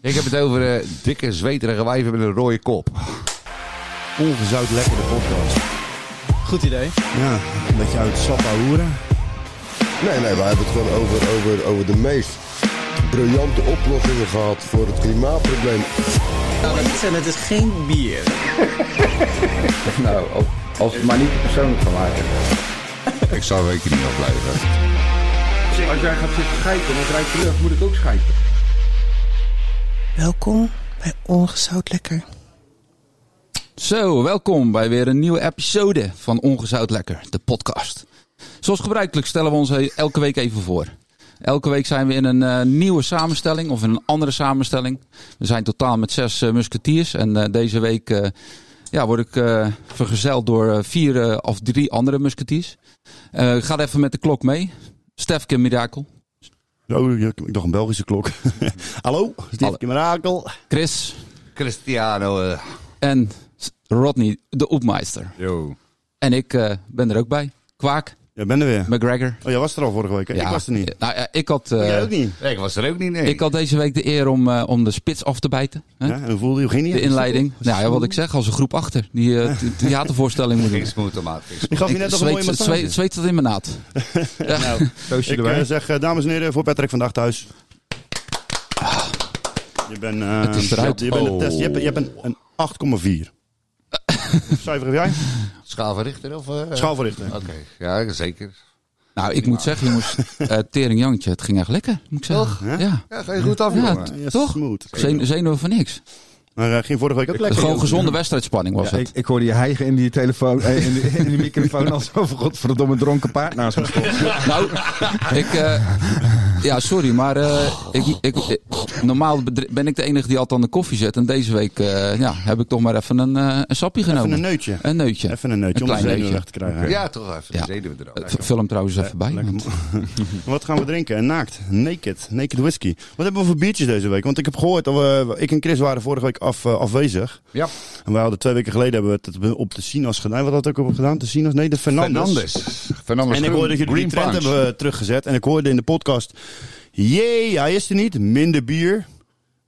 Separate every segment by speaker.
Speaker 1: Ik heb het over eh, dikke, zweterige wijven met een rode kop.
Speaker 2: Ongezout lekkere podcast.
Speaker 3: Goed idee.
Speaker 2: Ja, een beetje uit Sappa hoeren.
Speaker 4: Nee, nee, we hebben het gewoon over, over, over de meest briljante oplossingen gehad voor het klimaatprobleem.
Speaker 3: En het is geen bier.
Speaker 5: Nou, als, als het maar niet te persoonlijk van maken.
Speaker 1: Ik zou een weekje niet afblijven.
Speaker 5: Als jij gaat zitten schijten en het rijdt terug, moet ik ook schijten.
Speaker 6: Welkom bij Ongezout Lekker.
Speaker 7: Zo, welkom bij weer een nieuwe episode van Ongezout Lekker, de podcast. Zoals gebruikelijk stellen we ons eh, elke week even voor. Elke week zijn we in een eh, nieuwe samenstelling of in een andere samenstelling. We zijn totaal met zes eh, musketiers en eh, deze week eh, ja, word ik eh, vergezeld door eh, vier eh, of drie andere musketiers. Eh, ik ga even met de klok mee. Stefke Mirakel,
Speaker 2: Oh, ja, ik dacht een Belgische klok. Hallo, Stiefje Mirakel.
Speaker 7: Chris
Speaker 1: Cristiano. eh,
Speaker 7: en Rodney de Oepmeister.
Speaker 1: Yo.
Speaker 7: En ik eh, ben er ook bij. Kwaak,
Speaker 2: Jij bent er weer.
Speaker 7: McGregor.
Speaker 2: Oh, jij was er al vorige week, hè?
Speaker 7: Ja,
Speaker 2: Ik was er niet. Oh,
Speaker 7: Nou, ja, ik, had, eh,
Speaker 2: jij ook niet?
Speaker 1: Nee, ik was er ook niet, nee.
Speaker 7: ik had deze week de eer om, eh, om de spits af te bijten. Hè?
Speaker 2: Ja, en hoe voelde je? Hoe ging die?
Speaker 7: eh, de inleiding. Nou ja, wat ik zeg, als een groep achter. Die eh, th- theatervoorstelling moet doen.
Speaker 1: Ging smooth, maat. ging smooth.
Speaker 2: Ik gaf je
Speaker 7: Ik
Speaker 2: net nog een
Speaker 7: zweet,
Speaker 2: mooie massage.
Speaker 7: zweet, zweet dat in mijn naad.
Speaker 2: Ik eh, zeg, eh, dames en heren, voor Patrick vandaag thuis. Je bent, eh,
Speaker 7: Ah. Het is eruit. Oh.
Speaker 2: Je bent een test. Je hebt, je hebt een, een 8,4. Wat Cijfer heb
Speaker 7: Eh,
Speaker 2: jij?
Speaker 1: Schavenrichter of... eh,
Speaker 2: Schaalverrichter.
Speaker 1: Oké, ja, zeker.
Speaker 7: Nou, ik moet zeggen, jongens, eh Tering Jantje, het ging echt lekker. Moet ik zeggen.
Speaker 2: Hè?
Speaker 7: Ja.
Speaker 1: Ja, ga je goed af,
Speaker 7: Ja,
Speaker 1: jongen.
Speaker 7: t-
Speaker 2: Ja,
Speaker 7: eh, toch?
Speaker 2: smooth.
Speaker 7: Zen- zenuwen van niks.
Speaker 2: Maar eh, ging vorige week ook lekker.
Speaker 7: Gewoon
Speaker 2: joh.
Speaker 7: gezonde wedstrijdspanning was
Speaker 3: Ja, eh, ik,
Speaker 7: het.
Speaker 3: ik hoorde je hijgen in die telefoon, eh, in, die, in die microfoon als over godverdomme dronken paard naast me stond.
Speaker 7: Nou, ik... eh, ja, sorry, maar eh, ik, ik, ik- normaal bedri- ben ik de enige die altijd aan de koffie zet. En deze week eh, ja, heb ik toch maar even een, eh, een sapje genomen.
Speaker 2: Even een neutje.
Speaker 7: Een neutje.
Speaker 2: Even een eh, neutje
Speaker 7: Een
Speaker 2: om de
Speaker 7: klein
Speaker 2: zenuwen weg
Speaker 7: neutje.
Speaker 2: te krijgen.
Speaker 1: Ja, toch even.
Speaker 7: Ja.
Speaker 1: De zenuwen er ook.
Speaker 7: Eh, Vul hem trouwens even bij.
Speaker 2: Lekker. Wat gaan we drinken? Naakt. Naked. Naked whisky. Wat hebben we voor biertjes deze week? Want ik heb gehoord dat we... Ik en Chris waren vorige week af, eh, afwezig.
Speaker 1: Ja.
Speaker 2: En wij hadden twee weken geleden hebben we het op de Sinas gedaan. Wat had ik ook op gedaan? De Sinas? Nee, de Fernandes.
Speaker 1: Fernandes. Fernandes
Speaker 2: En ik hoorde dat jullie die
Speaker 1: Green
Speaker 2: trend
Speaker 1: Punch.
Speaker 2: hebben eh, teruggezet. En ik hoorde in de podcast... Jee, hij is er niet. Minder bier.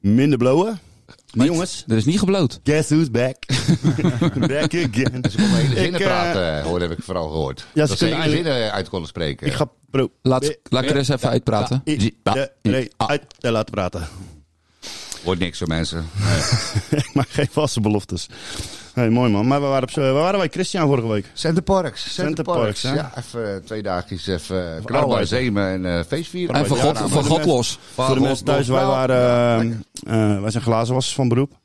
Speaker 2: Minder blowen. Maar jongens...
Speaker 7: Er is niet gebloot.
Speaker 2: Guess who's back? back again.
Speaker 1: Ze konden hele zinnen
Speaker 2: Ik, eh,
Speaker 1: praten, hoor, heb ik vooral gehoord.
Speaker 2: ze
Speaker 1: dat ze
Speaker 2: kunnen
Speaker 1: hele
Speaker 2: eigenlijk-
Speaker 1: zinnen uit konden spreken.
Speaker 2: Ik ga... Pro,
Speaker 7: Laat, laat Chris even uitpraten.
Speaker 2: ah, Nee, uit te laten praten.
Speaker 1: Hoort niks van mensen.
Speaker 2: maar geen vaste beloftes. Hey, mooi man. Maar waar waren, op, waar waren wij Christian vorige week?
Speaker 1: Center Parks. Center
Speaker 2: Center
Speaker 1: Parks.
Speaker 2: Parks, hè?
Speaker 1: Ja, even eh, twee dagjes even eh, knallen,
Speaker 2: arbeid.
Speaker 1: zemen en eh, feestvieren.
Speaker 7: En van
Speaker 2: Ja,
Speaker 7: God,
Speaker 2: nou,
Speaker 7: van
Speaker 2: de
Speaker 7: God
Speaker 2: mensen-
Speaker 7: los.
Speaker 2: Voor de
Speaker 1: Van
Speaker 2: mensen
Speaker 1: God
Speaker 2: thuis, wij,
Speaker 1: los.
Speaker 2: waren, eh, eh, wij zijn glazenwassers van beroep.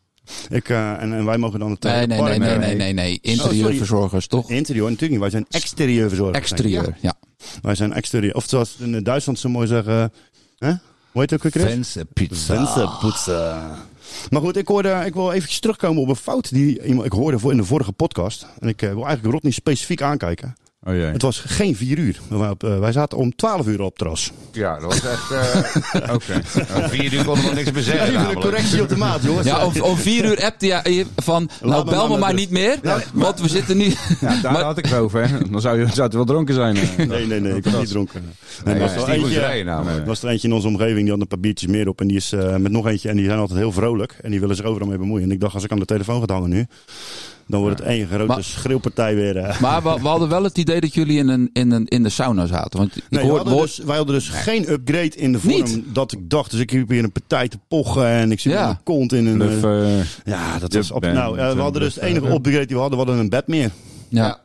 Speaker 2: Ik, eh, en, en wij mogen dan het eh,
Speaker 7: Nee, nee,
Speaker 2: park
Speaker 7: nee, nee,
Speaker 2: mee.
Speaker 7: nee, nee,
Speaker 2: Oh,
Speaker 7: nee. Interieurverzorgers, toch?
Speaker 2: Interieur natuurlijk niet, wij zijn exterieurverzorgers.
Speaker 7: Exterieur, ja.
Speaker 2: Wij zijn exterieur. Of zoals ze in Duitsland zo mooi zeggen. Hè? Hoe heet het ook weer, Chris?
Speaker 1: Fenster pizza.
Speaker 2: Wensen poetsen. Maar goed, ik, hoorde, ik wil eventjes terugkomen op een fout die iemand- ik hoorde voor in de vorige podcast. En ik eh, wil eigenlijk Rodney specifiek aankijken.
Speaker 1: Oh jee.
Speaker 2: Het was geen vier uur. We waren op, eh, wij zaten om 12 uur op het terras.
Speaker 1: Ja, dat was echt... eh, Oké. Nou, Vier uur konden we nog niks meer zeggen
Speaker 2: Even een
Speaker 1: namelijk.
Speaker 2: correctie op de maat, jongens.
Speaker 7: Ja, om, om vier uur appte je van,
Speaker 2: me
Speaker 7: nou bel me
Speaker 2: maar
Speaker 7: maar
Speaker 2: met
Speaker 7: niet meer, want we zitten nu...
Speaker 3: Ja, daar
Speaker 7: Maar-
Speaker 3: had ik het over. Hè. Dan zou je, zou het wel dronken zijn. eh.
Speaker 2: Nee, nee, nee, ik ben niet dronken.
Speaker 1: Nee,
Speaker 2: Nee, er
Speaker 1: dat
Speaker 2: was
Speaker 1: is
Speaker 2: wel
Speaker 1: die
Speaker 2: eentje-
Speaker 1: boerderij namelijk.
Speaker 2: er was er eentje in onze omgeving, die had een paar biertjes meer op. En die is eh, met nog eentje. En die zijn altijd heel vrolijk. En die willen zich overal mee bemoeien. En ik dacht, als ik aan de telefoon ga hangen nu, dan wordt het één grote
Speaker 7: Maar-
Speaker 2: schreeuwpartij weer. eh.
Speaker 7: Maar we, we hadden wel het idee dat jullie in, een, in, een, in de sauna zaten. Want ik
Speaker 2: Nee, we
Speaker 7: hoor,
Speaker 2: hadden
Speaker 7: hoor-
Speaker 2: dus, wij hadden dus geen upgrade in de vorm
Speaker 7: Niet?
Speaker 2: dat ik dacht. Dus ik liep hier een partij te pochen en ik zit
Speaker 7: Ja.
Speaker 2: met mijn kont in een...
Speaker 3: Bluff,
Speaker 2: eh,
Speaker 3: eh,
Speaker 2: ja, dat
Speaker 3: de
Speaker 2: was... Op,
Speaker 3: band,
Speaker 2: nou, eh, we
Speaker 3: eh,
Speaker 2: hadden dus het
Speaker 3: bluff,
Speaker 2: enige
Speaker 3: eh,
Speaker 2: upgrade die we hadden, we hadden een bed meer.
Speaker 7: ja.
Speaker 1: Ja.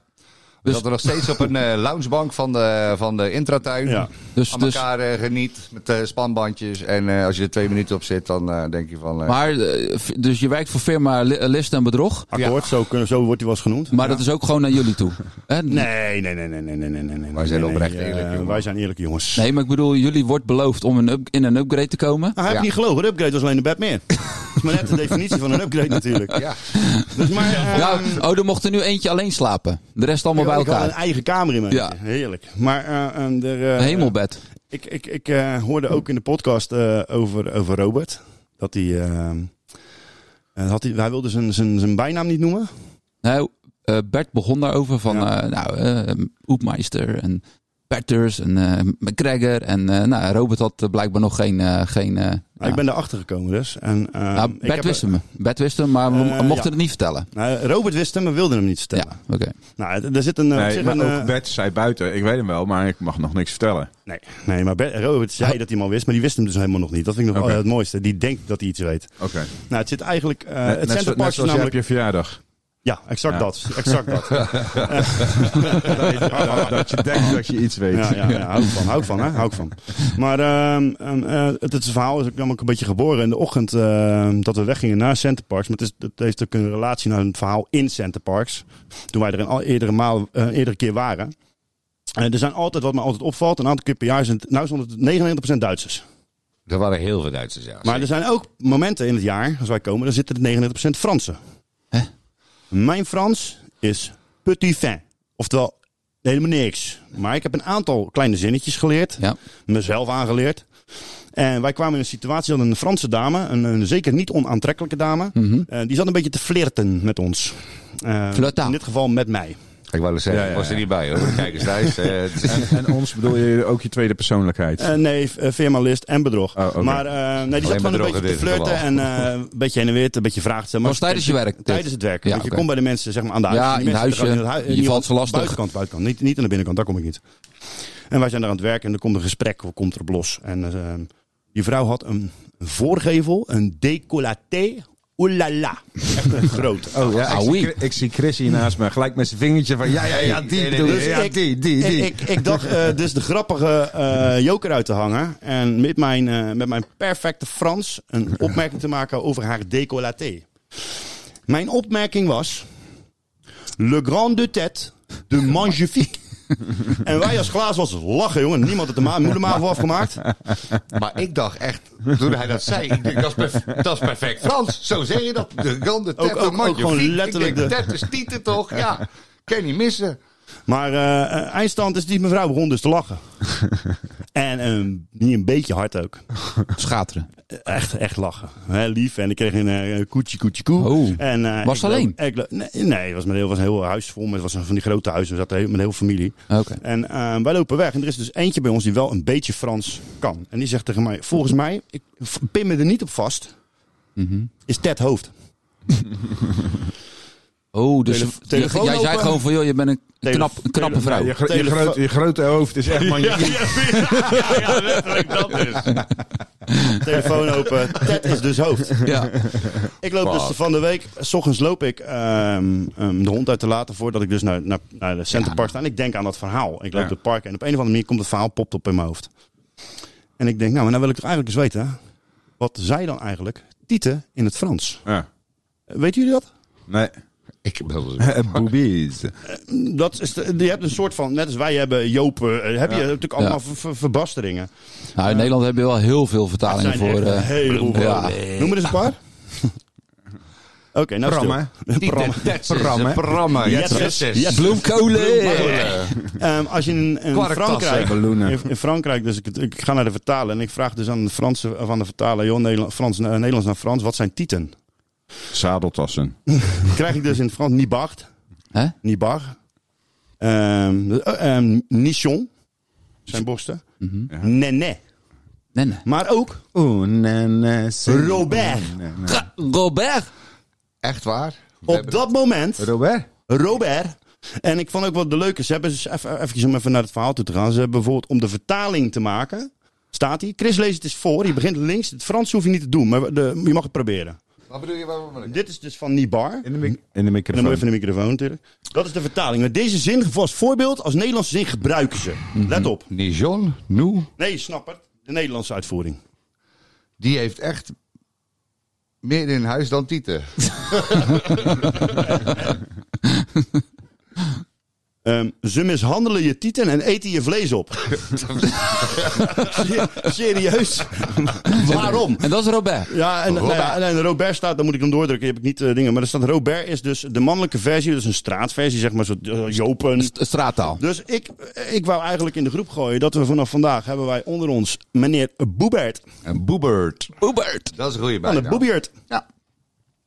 Speaker 1: We zaten nog steeds op een eh, loungebank van de, van de intratuin.
Speaker 2: Ja.
Speaker 7: Dus,
Speaker 1: Aan
Speaker 7: dus,
Speaker 1: elkaar eh, geniet met eh, spanbandjes. En eh, als je er twee minuten op zit, dan eh, denk je van... eh,
Speaker 7: maar, eh, v- dus je werkt voor firma Li- eh, List en Bedrog,
Speaker 2: Akkoord, zo, kunnen- zo wordt die wel eens genoemd.
Speaker 7: maar dat is ook gewoon naar jullie toe. Hè?
Speaker 2: Nee, nee, nee, nee, nee, nee, nee, nee, nee.
Speaker 1: Wij zijn
Speaker 2: nee, nee,
Speaker 1: oprecht
Speaker 2: eh,
Speaker 1: eerlijk, jongen.
Speaker 2: Wij zijn eerlijke jongens.
Speaker 7: Nee, maar ik bedoel, jullie wordt beloofd om een up- in een upgrade te komen.
Speaker 2: Ah, heb
Speaker 1: Ja.
Speaker 2: je niet gelogen, de upgrade was alleen de bed meer. dat is maar net de definitie van een upgrade natuurlijk.
Speaker 1: ja.
Speaker 2: Dus maar, eh,
Speaker 7: Nou, oh, er mocht er nu eentje alleen slapen. De rest allemaal bij
Speaker 2: ik had een
Speaker 7: elkaar.
Speaker 2: eigen kamer in mijn
Speaker 7: Ja.
Speaker 2: eentje. Heerlijk. Maar eh, eh, er, eh,
Speaker 7: Een hemelbed.
Speaker 2: Ik, ik, ik eh, hoorde ook in de podcast eh, over, over Robert. Dat hij. eh, eh, had hij, hij wilde zijn, zijn, zijn bijnaam niet noemen.
Speaker 7: Nou, eh, Bert begon daarover van,
Speaker 2: Ja.
Speaker 7: eh, nou, eh Oepmeister en Berters en eh, McGregor. En eh, nou, Robert had eh, blijkbaar nog geen, eh, geen eh,
Speaker 2: Ik ben daarachter gekomen dus. En, eh,
Speaker 7: nou,
Speaker 2: ik
Speaker 7: Bert
Speaker 2: heb-
Speaker 7: wist hem. Bert wist hem, maar we
Speaker 2: Eh,
Speaker 7: mochten
Speaker 2: ja.
Speaker 7: het niet vertellen.
Speaker 2: Nou, Robert wist hem, maar wilde hem niet
Speaker 7: Ja,
Speaker 2: vertellen.
Speaker 7: oké.
Speaker 2: Nou, er- er zit een... eh, op
Speaker 8: Nee,
Speaker 2: zich
Speaker 8: maar
Speaker 2: een, eh,
Speaker 8: ook Bert zei buiten. Ik weet hem wel, maar ik mag nog niks vertellen.
Speaker 2: Nee, nee maar Ber- Robert zei dat hij hem al wist, maar die wist hem dus helemaal nog niet. Dat vind ik nog wel,
Speaker 8: Oké.
Speaker 2: eh, het mooiste. Die denkt dat hij iets weet.
Speaker 8: Oké.
Speaker 2: Nou, het zit eigenlijk... eh,
Speaker 8: Net-
Speaker 2: het
Speaker 8: net, zo-
Speaker 2: Center Park
Speaker 8: net
Speaker 2: is
Speaker 8: zoals jij op
Speaker 2: namelijk...
Speaker 8: je verjaardag.
Speaker 2: Ja, exact
Speaker 8: Ja.
Speaker 2: dat. Exact dat.
Speaker 8: dat, dat je denkt dat je iets weet.
Speaker 2: Ja, ja, ja, hou ik van, hou ik van, hè? Hou ik van. Maar ehm, ehm, eh, het, het verhaal is ook namelijk een beetje geboren in de ochtend ehm, dat we weggingen naar Centerparks. Maar het, is, het heeft ook een relatie naar een verhaal in Centerparks. Toen wij er een al- eerdere, maal, eh, eerdere keer waren. Eh, er zijn altijd, wat me altijd opvalt, een aantal keer per jaar zijn het, nou is het 99% Duitsers.
Speaker 9: Er waren heel veel Duitsers, ja.
Speaker 2: Maar er zijn ook momenten in het jaar, als wij komen, dan zitten er 99% Fransen. Mijn Frans is petit fin. Oftewel, helemaal niks. Maar ik heb een aantal kleine zinnetjes geleerd.
Speaker 7: Ja.
Speaker 2: Mezelf aangeleerd. En wij kwamen in een situatie dat een Franse dame, een, een zeker niet onaantrekkelijke dame,
Speaker 7: Mhm.
Speaker 2: eh, die zat een beetje te flirten met ons. Eh,
Speaker 7: Flirten.
Speaker 2: In dit geval met mij.
Speaker 9: Ik wou het zeggen,
Speaker 8: Ja, ja,
Speaker 9: ik was er
Speaker 8: ja.
Speaker 9: niet bij hoor. De kijkers thuis. eh, het is-
Speaker 8: En, en ons bedoel je ook je tweede persoonlijkheid.
Speaker 2: Eh, nee, v- eh, veermalist en bedrog.
Speaker 8: Oh, oké.
Speaker 2: Maar eh, nee, die zat gewoon een
Speaker 9: bedrog in
Speaker 2: beetje te
Speaker 9: dit
Speaker 2: flirten
Speaker 9: geval.
Speaker 2: en eh, een beetje heen en weer, een beetje vragen te stellen.
Speaker 7: Was tijdens je werk dit?
Speaker 2: Tijdens het werk.
Speaker 7: Ja,
Speaker 2: Want Je
Speaker 7: oké.
Speaker 2: komt bij de mensen zeg maar, aan de
Speaker 7: Ja,
Speaker 2: huis. En die
Speaker 7: in het
Speaker 2: mensen
Speaker 7: huisje.
Speaker 2: gaan in hui-
Speaker 7: Je
Speaker 2: in ieder
Speaker 7: valt ze
Speaker 2: geval
Speaker 7: lastig.
Speaker 2: Buitenkant, buitenkant. Niet, niet aan de binnenkant, daar kom ik niet. En wij zijn daar aan het werk en er komt een gesprek, komt erop los. En eh, die vrouw had een voorgevel, een décolleté, oulala. Echt een groot.
Speaker 8: oh ja, ik,
Speaker 7: Aui.
Speaker 8: zie, ik zie Chris hier naast me. Gelijk met zijn vingertje van ja, ja, ja, die
Speaker 9: Nee, nee,
Speaker 8: doe
Speaker 9: nee,
Speaker 8: het. ja,
Speaker 2: Dus ik-
Speaker 8: die, die, die.
Speaker 2: Ik, ik, ik dacht eh, dus de grappige eh, joker uit te hangen. En met mijn, eh, met mijn perfecte Frans een opmerking te maken over haar décolleté. Mijn opmerking was... Le grande tête de magnifique. en wij als glaas was lachen, jongen. Niemand had de ma- moedermaal voor afgemaakt.
Speaker 9: maar ik dacht echt, toen hij dat zei, ik denk, dat, is perf- dat is perfect Frans. Zo zeg je dat. De grande
Speaker 2: Ook-
Speaker 9: tête,
Speaker 2: ook- ook
Speaker 9: magnifique.
Speaker 2: gewoon
Speaker 9: Ik
Speaker 2: letterlijk
Speaker 9: denk,
Speaker 2: de-
Speaker 9: Tête is tieten toch? Ja, kan je niet missen.
Speaker 2: Maar eh, eh, eindstand is die mevrouw begon dus te lachen. en eh, niet een beetje hard ook. Eh,
Speaker 7: Schateren.
Speaker 2: Echt, echt lachen. Hè, lief. En ik kreeg een eh, koetje, koetje, koe.
Speaker 7: Oh.
Speaker 2: En, eh,
Speaker 7: Was
Speaker 2: ik
Speaker 7: ze
Speaker 2: loop-
Speaker 7: alleen?
Speaker 2: ik loop- nee, nee, het was met heel, was een heel huis vol. Met, het was een van die grote huizen. We zaten heel- met een heel familie.
Speaker 7: Oh, Oké.
Speaker 2: En eh, wij lopen weg. En er is dus eentje bij ons die wel een beetje Frans kan. En die zegt tegen mij, volgens mij, ik v- pin me er niet op vast,
Speaker 7: Mhm.
Speaker 2: is Ted Hoofd.
Speaker 7: Oh, dus
Speaker 2: Telef-
Speaker 7: je-
Speaker 2: telefoon
Speaker 7: jij zei
Speaker 2: open.
Speaker 7: gewoon van, joh, je bent een,
Speaker 2: Tele-
Speaker 7: knap, een knappe
Speaker 2: tele-
Speaker 7: vrouw.
Speaker 8: Ja, je, gro- je,
Speaker 2: Telefo-
Speaker 8: grote- je grote hoofd is echt man.
Speaker 2: letterlijk dat is. Telefoon open. Ted is dus hoofd.
Speaker 7: Ja.
Speaker 2: Ik loop dus van de week, s ochtends loop ik ehm, ehm, de hond uit te laten voordat ik dus naar, naar, naar de Centerpark sta. En ik denk aan dat verhaal. Ik loop
Speaker 8: Ja.
Speaker 2: door het park en op een of andere manier komt het verhaal popt op in mijn hoofd. En ik denk, nou, maar nou wil ik toch eigenlijk eens weten. Wat zij dan eigenlijk tieten in het Frans?
Speaker 8: Ja.
Speaker 2: Eh, Weten jullie dat?
Speaker 8: Ah, Nee. Nou,
Speaker 9: Ik bedoel,
Speaker 8: Eh, Boobies.
Speaker 2: dat is de- je hebt een soort van, net als wij hebben Jopen, eh, heb je natuurlijk allemaal ver- ver- verbasteringen.
Speaker 7: Nou, in Nederland hebben we wel heel veel
Speaker 2: Dat
Speaker 7: vertalingen
Speaker 2: zijn echt
Speaker 7: voor...
Speaker 2: een
Speaker 7: eh,
Speaker 2: heleboel
Speaker 7: ja.
Speaker 2: woorden. Noem er eens een paar. Oké, nou stil.
Speaker 8: Pram,
Speaker 2: Pram.
Speaker 9: Prammen. Prammen.
Speaker 2: Jetsers. Jetsers.
Speaker 7: Bloemkolen!
Speaker 2: Ehm, als je in, in
Speaker 9: Kwarktassen,
Speaker 2: Frankrijk,
Speaker 8: balloenen.
Speaker 2: in, in Frankrijk, dus ik, ik ga naar de vertaler en ik vraag dus aan de Franse van de vertaler, joh, Nederland, Frans, eh, Nederlands naar Frans, wat zijn tieten?
Speaker 8: Zadeltassen.
Speaker 2: Krijg ik dus in het Frans nibart,
Speaker 7: Hè?
Speaker 2: nibar, ehm eh, ehm, nichon, zijn borsten, nené,
Speaker 7: Nee, nee.
Speaker 2: maar ook
Speaker 8: Oeh, nee, nee.
Speaker 2: Robert.
Speaker 7: Robert!
Speaker 9: Echt waar? We
Speaker 2: Op
Speaker 9: hebben-
Speaker 2: dat moment
Speaker 8: Robert?
Speaker 2: Robert. En ik vond ook wat de leuke. Ze hebben dus even, even om even naar het verhaal toe te gaan. Ze hebben bijvoorbeeld om de vertaling te maken. Staat hij. Chris leest het eens voor. Je begint links. Het Frans hoef je niet te doen. Maar de, je mag het proberen.
Speaker 9: Wat bedoel je? Waarom? wil ik-
Speaker 2: Dit is dus van Nibar. En
Speaker 8: In de, mic- in de
Speaker 2: dan moet
Speaker 8: microfoon.
Speaker 2: je even de microfoon natuurlijk. Dat is de vertaling. Met deze zin als voorbeeld. Als Nederlandse zin gebruiken ze. Let op.
Speaker 9: Nijon, Nou. Noe,
Speaker 2: Nee, je snapt het. De Nederlandse uitvoering.
Speaker 9: die heeft echt meer in huis dan Tieten.
Speaker 2: Ehm, ze mishandelen je tieten en eten je vlees op. Se- Serieus? Waarom?
Speaker 7: En dat is Robert.
Speaker 2: Ja, en, nou ja, en- en Robert staat, dan moet ik hem doordrukken, die heb ik niet eh, dingen. Maar er staat Robert is dus de mannelijke versie, dus een straatversie, zeg maar, zo eh, Jopen.
Speaker 7: St- straattaal.
Speaker 2: Dus ik, ik wou eigenlijk in de groep gooien dat we vanaf vandaag hebben wij onder ons meneer Boebert
Speaker 9: En Boebert.
Speaker 7: Robert!
Speaker 9: Dat is een goede
Speaker 2: van de
Speaker 9: bijnaam.
Speaker 2: Boebiert.
Speaker 9: Ja.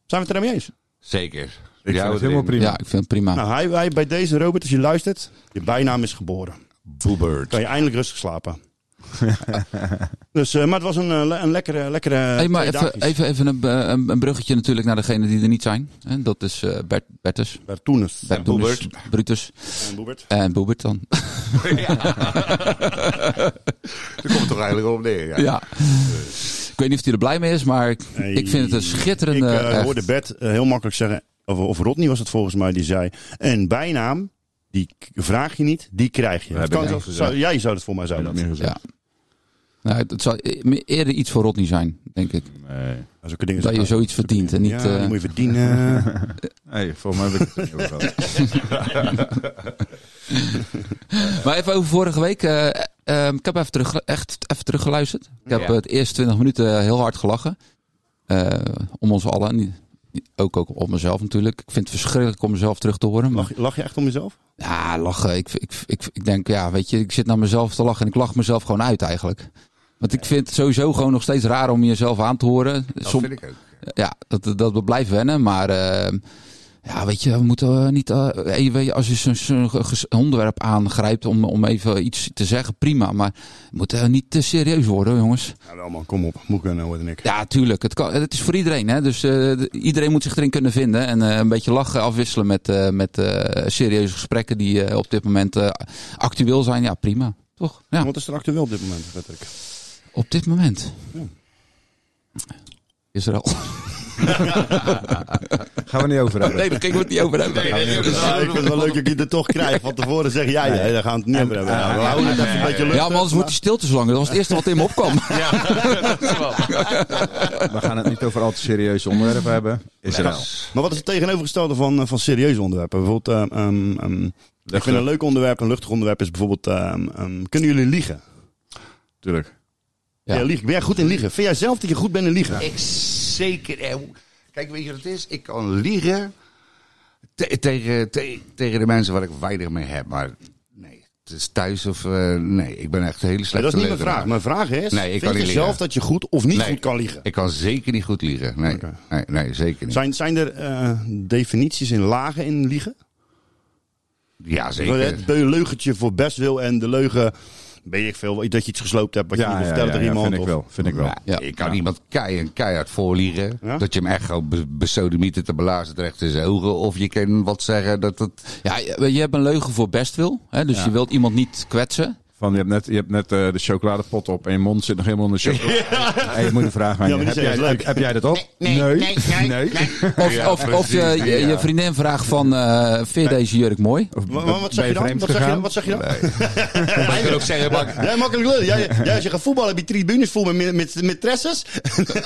Speaker 2: Zijn we het er mee eens?
Speaker 9: Zeker.
Speaker 8: Ik vind het helemaal prima.
Speaker 7: Ja, ik vind het prima.
Speaker 2: Nou, hij, hij bij deze Robert, als je luistert, je bijnaam is geboren.
Speaker 9: Boebert.
Speaker 2: Kan je eindelijk rustig slapen. Dus, eh, maar het was een, eh, le- een lekkere, lekkere
Speaker 7: Hey, maar
Speaker 2: twee
Speaker 7: even,
Speaker 2: dagjes.
Speaker 7: even, even een, eh, een, een bruggetje natuurlijk naar degene die er niet zijn. Hè, Dat is eh, Bert, Bertus.
Speaker 2: Bertoenus.
Speaker 7: Bert Doenus, Brutus.
Speaker 2: En Boebert.
Speaker 7: En Boebert dan.
Speaker 9: Daar komt het toch eigenlijk op neer. Ja.
Speaker 7: ja. Ik weet niet of hij er blij mee is, maar
Speaker 2: Nee,
Speaker 7: ik vind het een schitterende...
Speaker 2: Ik eh,
Speaker 7: echt.
Speaker 2: hoorde Bert eh, heel makkelijk zeggen, of, of Rodney was het volgens mij, die zei... Een bijnaam, die k- vraag je niet, die krijg je.
Speaker 8: We
Speaker 2: Dat kan
Speaker 8: hebben het
Speaker 2: zo-
Speaker 8: niet gezegd.
Speaker 2: zou- jij zou het voor mij
Speaker 8: Zou
Speaker 2: zijn.
Speaker 8: dat meer gezegd?
Speaker 7: ja. Nou, het- het zou e- eerder iets voor Rodney zijn, denk ik.
Speaker 8: Nee.
Speaker 2: Zulke dingen
Speaker 7: Dat je
Speaker 2: zijn-
Speaker 7: zoiets verdient en niet...
Speaker 2: Ja,
Speaker 7: eh,
Speaker 2: die moet je verdienen.
Speaker 8: Nee, volgens mij heb ik het niet over gehad.
Speaker 7: Maar even over vorige week. eh, eh, ik heb even, terug, echt even teruggeluisterd. Ik heb het eerste 20 minuten heel hard gelachen. Eh, om ons allen. Niet- niet- Ook, ook op mezelf natuurlijk. Ik vind het verschrikkelijk om mezelf terug te horen. Maar,
Speaker 2: lach, lach je echt om jezelf?
Speaker 7: ja, lachen. Ik, ik, ik, ik denk, ja, weet je, ik zit naar mezelf te lachen en ik lach mezelf gewoon uit eigenlijk. Want ik vind het sowieso gewoon nog steeds raar om jezelf aan te horen.
Speaker 9: Dat
Speaker 7: Som-
Speaker 9: vind ik ook.
Speaker 7: ja, dat, dat we blijven wennen. Maar eh, ja, weet je, we moeten eh, niet. eh, hey, weet je, als je zo'n zo'n ges- onderwerp aangrijpt om, om even iets te zeggen, prima. Maar we moeten eh, niet te serieus worden, hoor, jongens.
Speaker 2: Ja, wel man, kom op. Moet ik nou en ik.
Speaker 7: Ja, tuurlijk. Het, kan, het is voor iedereen. Hè? Dus eh, d- iedereen moet zich erin kunnen vinden. En eh, een beetje lachen afwisselen met, eh, met eh, serieuze gesprekken die eh, op dit moment eh, actueel zijn. Ja, prima. Toch? Ja,
Speaker 2: Wat is er actueel op dit moment, Patrick?
Speaker 7: op dit moment.
Speaker 2: Ja.
Speaker 7: Israël.
Speaker 8: Gaan we niet over hebben.
Speaker 7: Nee, daar gingen we het niet over hebben.
Speaker 2: Ja, ik vind het wel leuk dat je het toch krijgt. Van tevoren zeg jij, ja, daar gaan we het niet over hebben. Nou, we houden het even een beetje
Speaker 7: Ja,
Speaker 2: luchtig.
Speaker 7: maar anders wordt die stilte zo lang. Dat was het eerste wat in me opkwam.
Speaker 8: We gaan het niet over al te serieuze onderwerpen hebben. Israël.
Speaker 2: Maar wat is het tegenovergestelde van, eh, van serieuze onderwerpen? Bijvoorbeeld, ehm, ehm, ehm, ik vind een leuk onderwerp, een luchtig onderwerp is bijvoorbeeld, ehm, ehm, kunnen jullie liegen?
Speaker 8: Tuurlijk.
Speaker 7: Ja.
Speaker 2: Ja. liegen. Ben jij goed in liegen? Vind jij zelf dat je goed bent in liegen?
Speaker 9: Ik zeker. eh, hoe- Kijk, weet je wat het is? Ik kan liegen te- tegen, te- tegen de mensen waar ik weinig mee heb. Maar nee, het is thuis of... eh, nee, ik ben echt een hele
Speaker 2: Nee,
Speaker 9: slechte
Speaker 2: dat is niet mijn
Speaker 9: leugenaar.
Speaker 2: vraag. Mijn vraag is,
Speaker 9: Nee, ik kan
Speaker 2: vind
Speaker 9: niet
Speaker 2: je
Speaker 9: liegen.
Speaker 2: zelf dat je goed of niet
Speaker 9: Nee.
Speaker 2: goed kan liegen?
Speaker 9: Ik kan zeker niet goed liegen. Nee,
Speaker 2: Oké.
Speaker 9: nee, nee zeker niet.
Speaker 2: Zijn, zijn er eh, definities in lagen in liegen?
Speaker 9: Ja, zeker.
Speaker 2: Het leugentje voor best wil en de leugen, weet ik veel, dat je iets gesloopt hebt wat je niet wil vertellen tegen iemand.
Speaker 8: vind ik
Speaker 2: of-
Speaker 8: wel. Vind ik wel.
Speaker 9: Ja,
Speaker 7: Ja.
Speaker 9: Je kan iemand kei en keihard voorliegen.
Speaker 2: Ja?
Speaker 9: Dat je hem echt gewoon be- besodemieten te belazen terecht in zijn ogen. Of je kan wat zeggen dat het...
Speaker 7: Ja, je je hebt een leugen voor bestwil. Hè? Dus je wilt iemand niet kwetsen.
Speaker 8: Van, je hebt net, je hebt net eh, de chocoladepot op en je mond zit nog helemaal in de chocolade. Hey, ik moet een vraag aan
Speaker 2: Ja,
Speaker 8: je.
Speaker 2: maar die
Speaker 8: Heb
Speaker 2: zijn
Speaker 8: jij,
Speaker 2: leuk.
Speaker 8: heb, heb jij dat op? Nee. Nee.
Speaker 7: Of, of, of je, je, je vriendin vraagt van, eh vind je deze jurk mooi?
Speaker 8: Of
Speaker 2: Wa- wa-
Speaker 8: ben
Speaker 2: wat, zeg je dan?
Speaker 8: vreemd
Speaker 2: wat zeg je
Speaker 8: gegaan?
Speaker 2: dan? Wat zeg je dan? Ik wil ook zeggen, Jij makkelijk lullen. Jij, jij, als je gaat voetballen heb je tribunes vol met, met, met maîtresses.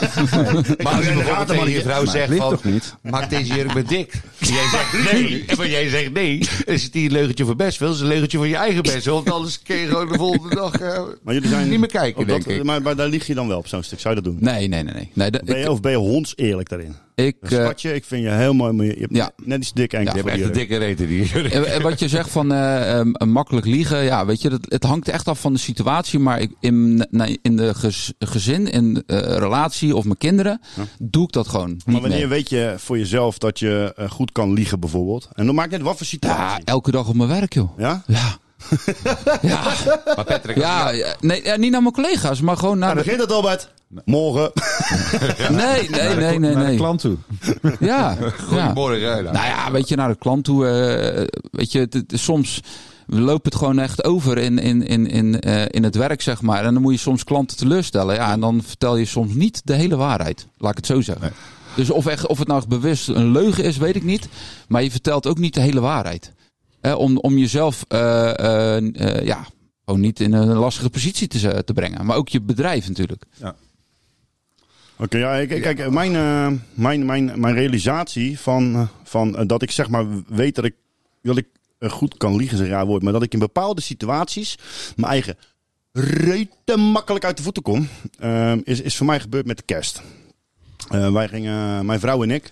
Speaker 9: Maar als je bijvoorbeeld tegen je vrouw
Speaker 8: Maar het
Speaker 9: zegt
Speaker 8: ligt
Speaker 9: van...
Speaker 8: toch niet?
Speaker 9: Maak deze jurk maar dik. En Jij zegt nee. En maar jij zegt nee. Dan is het niet een leugentje voor best veel. Het is een leugentje voor je eigen best. wel, Want anders kun je gewoon de volgende dag eh,
Speaker 2: Maar jullie zijn
Speaker 9: niet meer kijken,
Speaker 2: op dat-
Speaker 9: denk ik.
Speaker 2: Maar, maar daar lieg je dan wel op zo'n stuk. Zou je dat doen?
Speaker 7: Nee, nee, nee. nee. nee dat-
Speaker 2: Ben je,
Speaker 7: ik,
Speaker 2: of ben je honds eerlijk daarin?
Speaker 7: ik, eh,
Speaker 2: Schatje, ik vind je heel mooi, maar je je hebt
Speaker 7: Ja.
Speaker 2: net iets dik enkel.
Speaker 7: Ja,
Speaker 9: Echt een dikke reten die jurk.
Speaker 7: en- en wat je zegt van eh, eh, makkelijk liegen, ja, weet je, dat, het hangt echt af van de situatie. Maar ik, in, nee, in de gez- gezin, in eh, relatie of mijn kinderen, doe ik dat gewoon.
Speaker 2: Maar
Speaker 7: niet
Speaker 2: wanneer
Speaker 7: meer.
Speaker 2: weet je voor jezelf dat je eh, goed kan liegen bijvoorbeeld? En dan maakt net wat voor
Speaker 7: Ja,
Speaker 2: situatie.
Speaker 7: elke dag op mijn werk, joh.
Speaker 2: Ja?
Speaker 7: Ja. ja.
Speaker 9: Maar Patrick,
Speaker 7: Ja, ja, nee, ja, niet naar mijn collega's, maar gewoon naar
Speaker 2: Nou,
Speaker 7: de...
Speaker 2: begint dat Albert. Morgen.
Speaker 7: Nee, nee, nee, nee.
Speaker 8: Naar de
Speaker 7: nee.
Speaker 8: klant toe.
Speaker 7: Ja, ja.
Speaker 9: goedemorgen. hè, nou.
Speaker 7: Nou ja, weet je, naar de klant toe. eh, weet je, het- het- soms loopt het gewoon echt over in, in, in, in, eh, in het werk, zeg maar. En dan moet je soms klanten teleurstellen. Ja, en dan vertel je soms niet de hele waarheid. Laat ik het zo zeggen. Dus of, echt, of het nou bewust een leugen is, weet ik niet. Maar je vertelt ook niet de hele waarheid. Hè, om, om jezelf, eh, eh, eh, ja, gewoon niet in een lastige positie te, ze- te brengen. Maar ook je bedrijf natuurlijk.
Speaker 2: Oké, ja, ik- ik- kijk, mijn, eh, mijn, mijn, mijn realisatie van, eh, van eh, dat ik zeg maar weet dat ik, dat ik eh, goed kan liegen, is een raar woord, maar dat ik in bepaalde situaties mijn eigen reute makkelijk uit de voeten kom, eh, is, is voor mij gebeurd met de kerst. Eh, wij gingen, mijn vrouw en ik,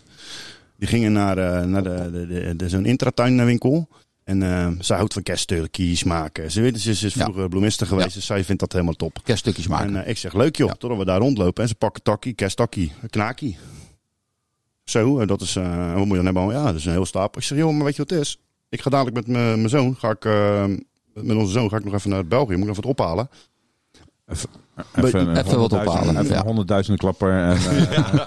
Speaker 2: die gingen naar, eh, naar de, de, de, de- zo'n intratuinwinkel. En eh, zij houdt van kerstturkies maken. Ze, weet, ze, ze is
Speaker 7: Ja.
Speaker 2: vroeger bloemiste geweest, dus zij vindt dat helemaal top.
Speaker 7: Kerststukjes maken.
Speaker 2: En eh, ik zeg, leuk joh, totdat we daar rondlopen. En ze pakken takkie, kersttakkie, knakie. Zo, en dat is, eh, wat moet je dan hebben? Ja, dat is een heel stapel. Ik zeg, joh, maar weet je wat het is? Ik ga dadelijk met mijn mijn zoon, ga ik, eh, met onze zoon ga ik nog even naar België. Moet ik nog wat ophalen.
Speaker 8: Even, even,
Speaker 7: wat
Speaker 8: honderdduizend-
Speaker 7: ophalen,
Speaker 8: Even
Speaker 7: ja.
Speaker 8: een honderdduizenden klapper. En, eh,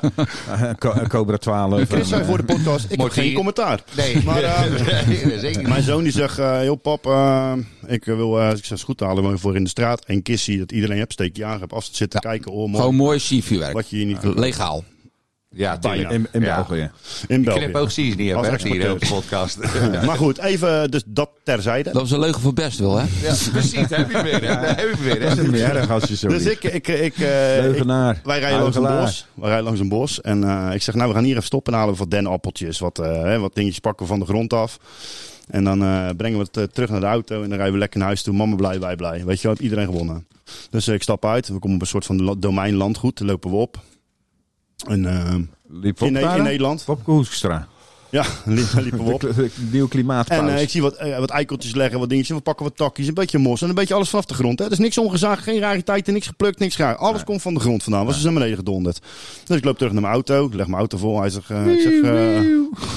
Speaker 8: eh, Co- eh, Cobra 12.
Speaker 2: Chris zei voor de podcast, ik heb
Speaker 9: Mocht
Speaker 2: geen
Speaker 9: hij-
Speaker 2: commentaar.
Speaker 9: Nee, maar, nee, zeker niet.
Speaker 2: Mijn zoon die zegt, eh joh pap, eh, ik wil eh succes goed halen maar voor in de straat. En kissie dat iedereen hebt, steek je aan, heb afstand zitten kijken. Oh, mooi.
Speaker 7: Gewoon mooi CV-werk.
Speaker 2: wat je hier niet
Speaker 7: Legaal.
Speaker 9: Ja,
Speaker 2: bijna.
Speaker 8: eh, in, in
Speaker 9: Ja.
Speaker 8: België.
Speaker 2: in
Speaker 9: Ik
Speaker 2: België.
Speaker 9: knip ook precies niet, hè,
Speaker 2: Als
Speaker 9: Bert, hier in de
Speaker 2: exporteur.
Speaker 9: podcast.
Speaker 2: Maar goed, even dus dat terzijde.
Speaker 7: Dat was een leugen voor best wel, hè?
Speaker 9: Ja, precies, heb je weer, hè? Heb je weer, hè?
Speaker 8: Dat is niet meer erg als je zo
Speaker 2: dus
Speaker 8: liegt.
Speaker 2: ik, ik, ik, eh, ik-
Speaker 8: Leugenaar.
Speaker 2: wij rijden langs een
Speaker 8: Huigelaar.
Speaker 2: bos. Wij rijden langs een bos. En eh, ik zeg, nou, we gaan hier even stoppen en halen we wat denappeltjes. Wat, eh, hè, wat dingetjes pakken we van de grond af. En dan eh, brengen we het eh, terug naar de auto. En dan rijden we lekker naar huis toe. Mama blij, wij blij. Weet je wel, heb iedereen gewonnen. Dus eh, ik stap uit. We komen op een soort van la- domein landgoed. Lopen we op. En, eh,
Speaker 8: Liep op
Speaker 2: in, Ne-
Speaker 8: daar,
Speaker 2: in
Speaker 8: hè?
Speaker 2: Nederland.
Speaker 8: Popke Hoekstra.
Speaker 2: Ja, li- liepen we op.
Speaker 8: De- de- de Nieuw
Speaker 2: En
Speaker 8: klimaatpauze.
Speaker 2: eh, ik zie wat, eh, wat eikeltjes leggen, wat dingetjes. We pakken wat takjes, een beetje mos en een beetje alles vanaf de grond. Hè. Er is niks ongezaagd, geen rariteiten, niks geplukt, niks raar. Alles komt van de grond vandaan. Was dus naar beneden gedonderd. Dus ik loop terug naar mijn auto. Ik leg mijn auto vol. Hij zegt... eh, ik zeg,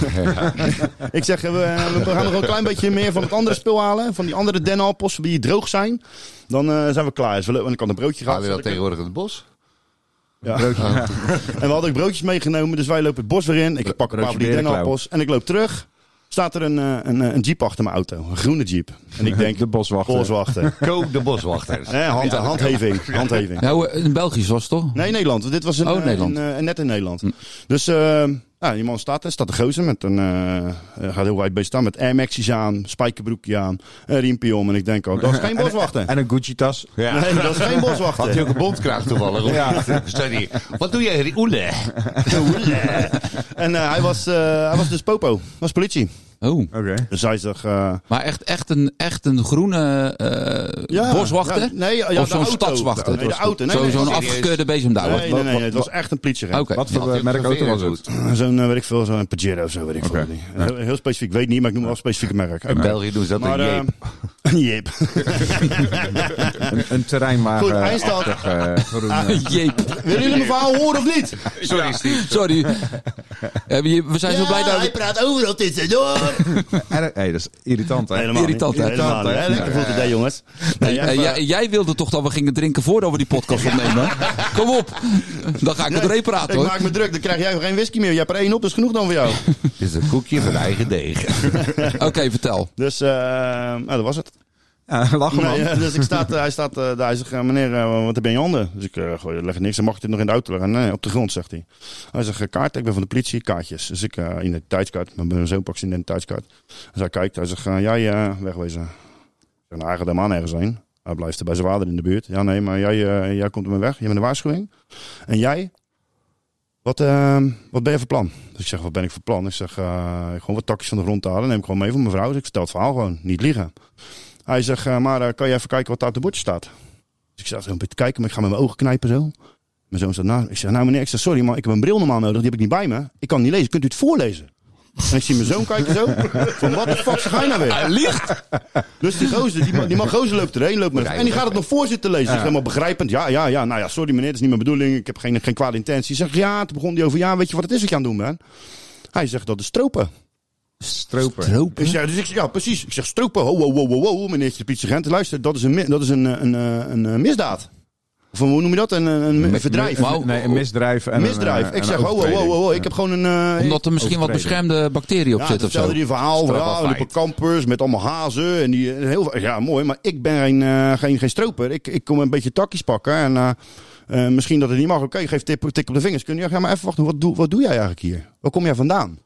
Speaker 2: eh, ik zeg eh, we, we gaan nog een klein beetje meer van het andere spul halen. Van die andere denappels, die droog zijn. Dan eh, zijn we klaar. Dus we, lo- en ik had een broodje
Speaker 9: Gaan
Speaker 2: gehad.
Speaker 9: we dat tegenwoordig in het bos?
Speaker 2: Ja. En we hadden ook broodjes meegenomen, dus wij lopen het bos weer in. Ik pak een paar van die
Speaker 8: berenklauw.
Speaker 2: dennenappels en ik loop terug. Staat er een, eh, een, eh, een jeep achter mijn auto, een groene jeep. En ik denk,
Speaker 8: de boswachter.
Speaker 2: boswachter.
Speaker 9: Ko de boswachter.
Speaker 2: Hè, hand, handheving, handheving.
Speaker 7: Nou, eh, in België was het toch?
Speaker 2: Nee, Nederland. Dit was een,
Speaker 7: Oh,
Speaker 2: eh,
Speaker 7: Nederland.
Speaker 2: een, eh, net in Nederland. Dus eh, ja, die man staat, er staat de gozer met een, eh, eh, gaat heel wijd bij staan, met Air Max's aan, spijkerbroekje aan, een riempje om. En ik denk, oh, dat is geen boswachter.
Speaker 8: En een Gucci-tas.
Speaker 2: Nee, dat is geen
Speaker 9: Had hij
Speaker 2: boswachter.
Speaker 9: ook een bondkraag toevallig? of
Speaker 8: Ja.
Speaker 9: niet? Staat hier, Wat doe jij, Oele?
Speaker 2: En eh, hij, was, eh, hij was dus popo, was politie.
Speaker 7: Oh.
Speaker 8: Oké.
Speaker 2: Dus hij zegt... eh,
Speaker 7: Maar echt, echt, een, echt een groene eh,
Speaker 2: Ja.
Speaker 7: boswachter?
Speaker 2: Ja, nee, ja, ja,
Speaker 7: of
Speaker 2: de
Speaker 7: zo'n
Speaker 2: auto.
Speaker 7: stadswachter?
Speaker 2: Nee, de auto. Nee,
Speaker 7: Zo-
Speaker 2: nee,
Speaker 7: Zo'n
Speaker 2: serieus.
Speaker 7: afgekeurde bezemdouwer.
Speaker 2: Nee, nee, nee, het was echt een politieagent.
Speaker 7: Oké.
Speaker 8: Wat voor eh, merk auto was het?
Speaker 2: Zo'n, eh, weet ik veel, zo'n Pajero of zo, weet ik
Speaker 8: Oké.
Speaker 2: veel. Heel, heel specifiek, weet niet, maar ik noem wel een specifieke merk.
Speaker 9: In België doen ze dat
Speaker 2: Maar,
Speaker 9: een jeep.
Speaker 2: eh, een jeep.
Speaker 8: Een, een terreinwagen.
Speaker 2: Goed, hij Ah, staat-
Speaker 8: achtig, eh, groen, eh.
Speaker 7: Jeep.
Speaker 2: Willen jullie mijn verhaal horen of niet?
Speaker 9: Sorry, Steve.
Speaker 7: Sorry. Eh, we- We zijn zo blij dat we...
Speaker 2: praat overal tussendoor.
Speaker 8: Erg- hey, dat is irritant, hè?
Speaker 2: Helemaal
Speaker 7: Irritant,
Speaker 2: niet.
Speaker 7: hè?
Speaker 2: Helemaal niet, hè? Lekker voor idee, jongens. Nee,
Speaker 7: Eh,
Speaker 2: even-
Speaker 7: jij- jij wilde toch dat we gingen drinken voordat we die podcast opnemen? Kom op. Dan ga ik het doorheen praten,
Speaker 2: ik
Speaker 7: hoor.
Speaker 2: maak me druk, dan krijg jij geen whisky meer. Jij hebt er één op, dat is genoeg dan voor jou.
Speaker 9: Het is een koekje van eigen deeg.
Speaker 7: Oké, vertel.
Speaker 2: Dus, eh, nou, dat was het.
Speaker 8: Ja, lachen, man.
Speaker 2: Nee, eh, dus ik staat, eh, hij staat eh, daar. Hij zegt, eh, meneer, eh, wat heb je in je handen? Dus ik eh, gooi, leg er niks. Dan mag ik dit nog in de auto leggen. Nee, op de grond, zegt hij. Hij zegt, eh, kaart, ik ben van de politie, kaartjes. Dus ik, eh identiteitskaart, met mijn zoon pak zijn identiteitskaart. Dus hij kijkt, hij zegt, eh, jij eh, wegwezen. Ik zeg, nou, hij gaat helemaal nergens heen. Hij blijft er bij zijn vader in de buurt. Ja, nee, maar jij, eh, jij komt ermee weg. Je bent een waarschuwing. En jij? Wat, eh, wat ben je van plan? Dus ik zeg, wat ben ik van plan? Ik zeg, eh, gewoon wat takjes van de grond te halen. Neem ik gewoon mee voor mijn vrouw. Dus ik vertel het verhaal gewoon. Niet liegen. Hij zegt, eh, maar eh, kan je even kijken wat daar op de bordje staat? Dus ik zat zo een beetje te kijken, maar ik ga met mijn ogen knijpen zo. Mijn zoon staat naast me. Ik zeg, nou meneer, ik zeg, sorry, maar ik heb een bril normaal nodig. Die heb ik niet bij me. Ik kan het niet lezen. Kunt u het voorlezen? En ik zie mijn zoon kijken zo. Van, wat de fuck zeg jij nou weer?
Speaker 7: Hij liegt.
Speaker 2: Dus die gozer, die, ma- die man gozer loopt erheen. Loopt met, en die gaat het nog voor zitten lezen. Ik zeg, helemaal begrijpend. Ja, ja, ja. Nou ja, sorry meneer, dat is niet mijn bedoeling. Ik heb geen, geen kwade intentie. Ik zeg, ja, toen begon hij over, ja, weet je wat het is wat je aan het doen bent? Hij zegt, dat is stropen.
Speaker 8: Stroper.
Speaker 2: Ik zeg, dus ik zeg, ja, precies. Ik zeg, stropen, ho, ho, ho, ho, ho, meneertje de politieagent. Luister, dat is een, mi- dat is een, eh, een, eh, een, eh, misdaad. Of een- hoe noem je dat? Een, een, een verdrijf.
Speaker 7: mi-
Speaker 2: Een
Speaker 8: Nee, een misdrijf. En
Speaker 2: misdrijf.
Speaker 8: Een, eh,
Speaker 2: ik
Speaker 8: en
Speaker 2: zeg, oh,
Speaker 8: een
Speaker 2: ho, ho, ho,
Speaker 8: overtreding.
Speaker 2: ho, ho, ik heb gewoon een... eh,
Speaker 7: Omdat er misschien wat
Speaker 8: Overtreding.
Speaker 7: beschermde bacteriën op
Speaker 2: ja,
Speaker 7: zitten of zo.
Speaker 2: vertelde die een verhaal. Ja, we
Speaker 9: Strafbaar
Speaker 2: liepen campers met allemaal hazen. En die, eh, heel, veel- ja, mooi. Maar ik ben geen, eh, geen, geen stroper. Ik, ik kom een beetje takjes pakken. En eh, eh, misschien dat het niet mag. Oké, geef tip, tik op de vingers. Kun je ja, maar even wachten. Wat doe, wat doe jij eigenlijk hier? Waar kom jij vandaan?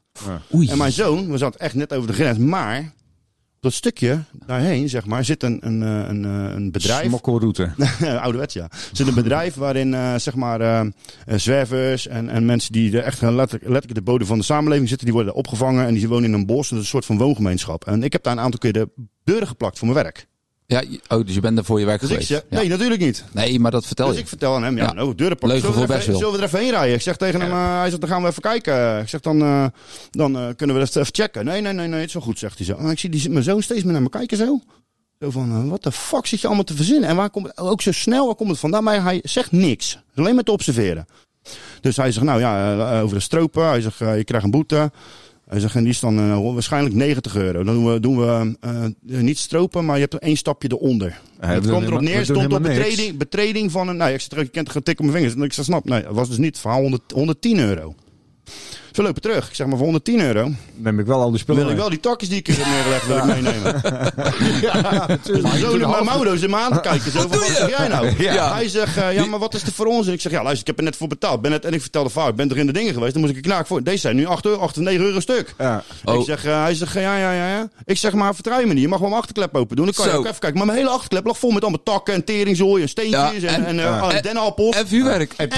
Speaker 7: Oei.
Speaker 2: En mijn zoon, we zaten echt net over de grens, maar op dat stukje daarheen, zeg maar, zit een, een, eh, een, eh, een bedrijf.
Speaker 8: Smokkelroute.
Speaker 2: Ouderwets, ja. Zit een bedrijf waarin, eh, zeg maar, eh, eh, zwervers en, en mensen die er echt eh, letterlijk, letterlijk de bodem van de samenleving zitten, die worden daar opgevangen en die wonen in een bos. Dat is een soort van woongemeenschap. En ik heb daar een aantal keer de deuren geplakt voor mijn werk.
Speaker 7: Ja, je- oh, dus je bent er voor je werk
Speaker 2: Dus ik
Speaker 7: geweest.
Speaker 2: zeg,
Speaker 7: Ja.
Speaker 2: nee, natuurlijk niet.
Speaker 7: Nee, maar dat vertel
Speaker 2: Dus
Speaker 7: je.
Speaker 2: ik vertel aan hem, ja,
Speaker 7: Ja.
Speaker 2: nou, deuren pakken.
Speaker 7: Leugen
Speaker 2: Zullen, we
Speaker 7: voor
Speaker 2: er even-
Speaker 7: Bestwil.
Speaker 2: zullen we er even heen rijden? Ik zeg tegen hem, eh, hij zegt, dan gaan we even kijken. Ik zeg, dan, eh, dan eh, kunnen we dat even checken. Nee, nee, nee, nee, het is wel goed, zegt hij zo. Ah, ik zie die, mijn zoon steeds meer naar me kijken zo. Zo van, eh, wat de fuck zit je allemaal te verzinnen? En waar komt het, ook zo snel, waar komt het vandaan? Maar hij zegt niks. Het is Alleen maar te observeren. Dus hij zegt, nou ja, eh, over de stropen. Hij zegt, eh, je krijgt een boete. Hij zegt, en die is dan eh, waarschijnlijk 90 euro. Dan doen we, doen we eh, niet stropen, maar je hebt er één stapje eronder.
Speaker 8: we
Speaker 2: het
Speaker 8: doen
Speaker 2: komt erop
Speaker 8: helemaal-
Speaker 2: neer,
Speaker 8: we doen
Speaker 2: stond op
Speaker 8: helemaal niks.
Speaker 2: betreding, betreding van een... Nou, ik zeg, terug, je kent gaan tikken op mijn vingers. En ik zeg, snap, nee, dat was dus niet. Verhaal 100 110 euro. Ze lopen terug. Ik zeg, maar voor 110 euro
Speaker 8: Neem ik wel al die spullen
Speaker 2: wil ik
Speaker 8: mee.
Speaker 2: wel die takjes die ik er heb neergelegd, wil ik meenemen. ja, natuurlijk. Zo doet mijn Mauro ze me aan te kijken. Zo, van, wat zeg jij nou?
Speaker 7: Ja.
Speaker 2: Hij zegt, eh, ja, maar wat is er voor ons? En ik zeg, ja, luister, ik heb er net voor betaald. Ben net, en ik vertelde vaak, ik ben er in de dingen geweest. Dan moest ik een knaak voor. Deze zijn nu 8 euro, 8 of 9 euro stuk.
Speaker 8: Ja.
Speaker 7: Oh.
Speaker 2: Ik zeg, eh, hij zegt, ja, ja, ja, ja. Ik zeg, maar vertrouw je me niet. Je mag wel mijn achterklep open doen. Dan kan je
Speaker 7: Zo.
Speaker 2: ook even kijken. Maar mijn hele achterklep lag vol met allemaal takken en teringzooi en steentjes
Speaker 7: Ja,
Speaker 2: en,
Speaker 7: en-
Speaker 2: en, eh,
Speaker 7: en-
Speaker 2: dennenappels.
Speaker 7: En vuurwerk.
Speaker 2: En